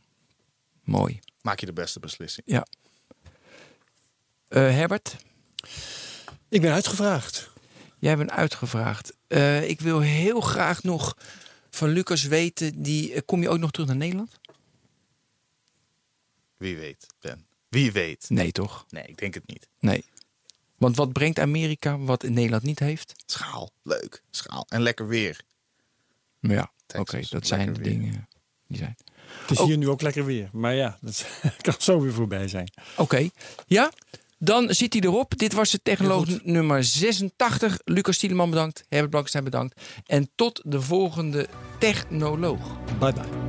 Mooi.
maak je de beste beslissing.
Ja. Eh, Herbert,
Ik ben uitgevraagd.
jij bent uitgevraagd. Eh, ik wil heel graag nog van Lucas weten, die, eh, kom je ook nog terug naar Nederland?
Wie weet, Ben. Wie weet.
Nee, toch?
Nee, ik denk het niet.
Nee. Want wat brengt Amerika wat Nederland niet heeft?
Schaal. Leuk. Schaal. En lekker weer.
Maar ja, oké,
Texas,
dat zijn de
lekker weer.
dingen die zijn.
Het is hier nu ook lekker weer. Maar ja, dat kan zo weer voorbij zijn.
Oké, ja. Dan zit hij erop. Dit was de technoloog
Heel goed.
nummer 86. Lucas Stieleman bedankt. Herbert Blankenstein bedankt. En tot de volgende technoloog.
Bye bye.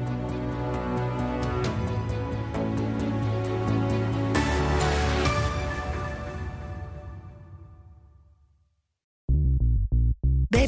Bij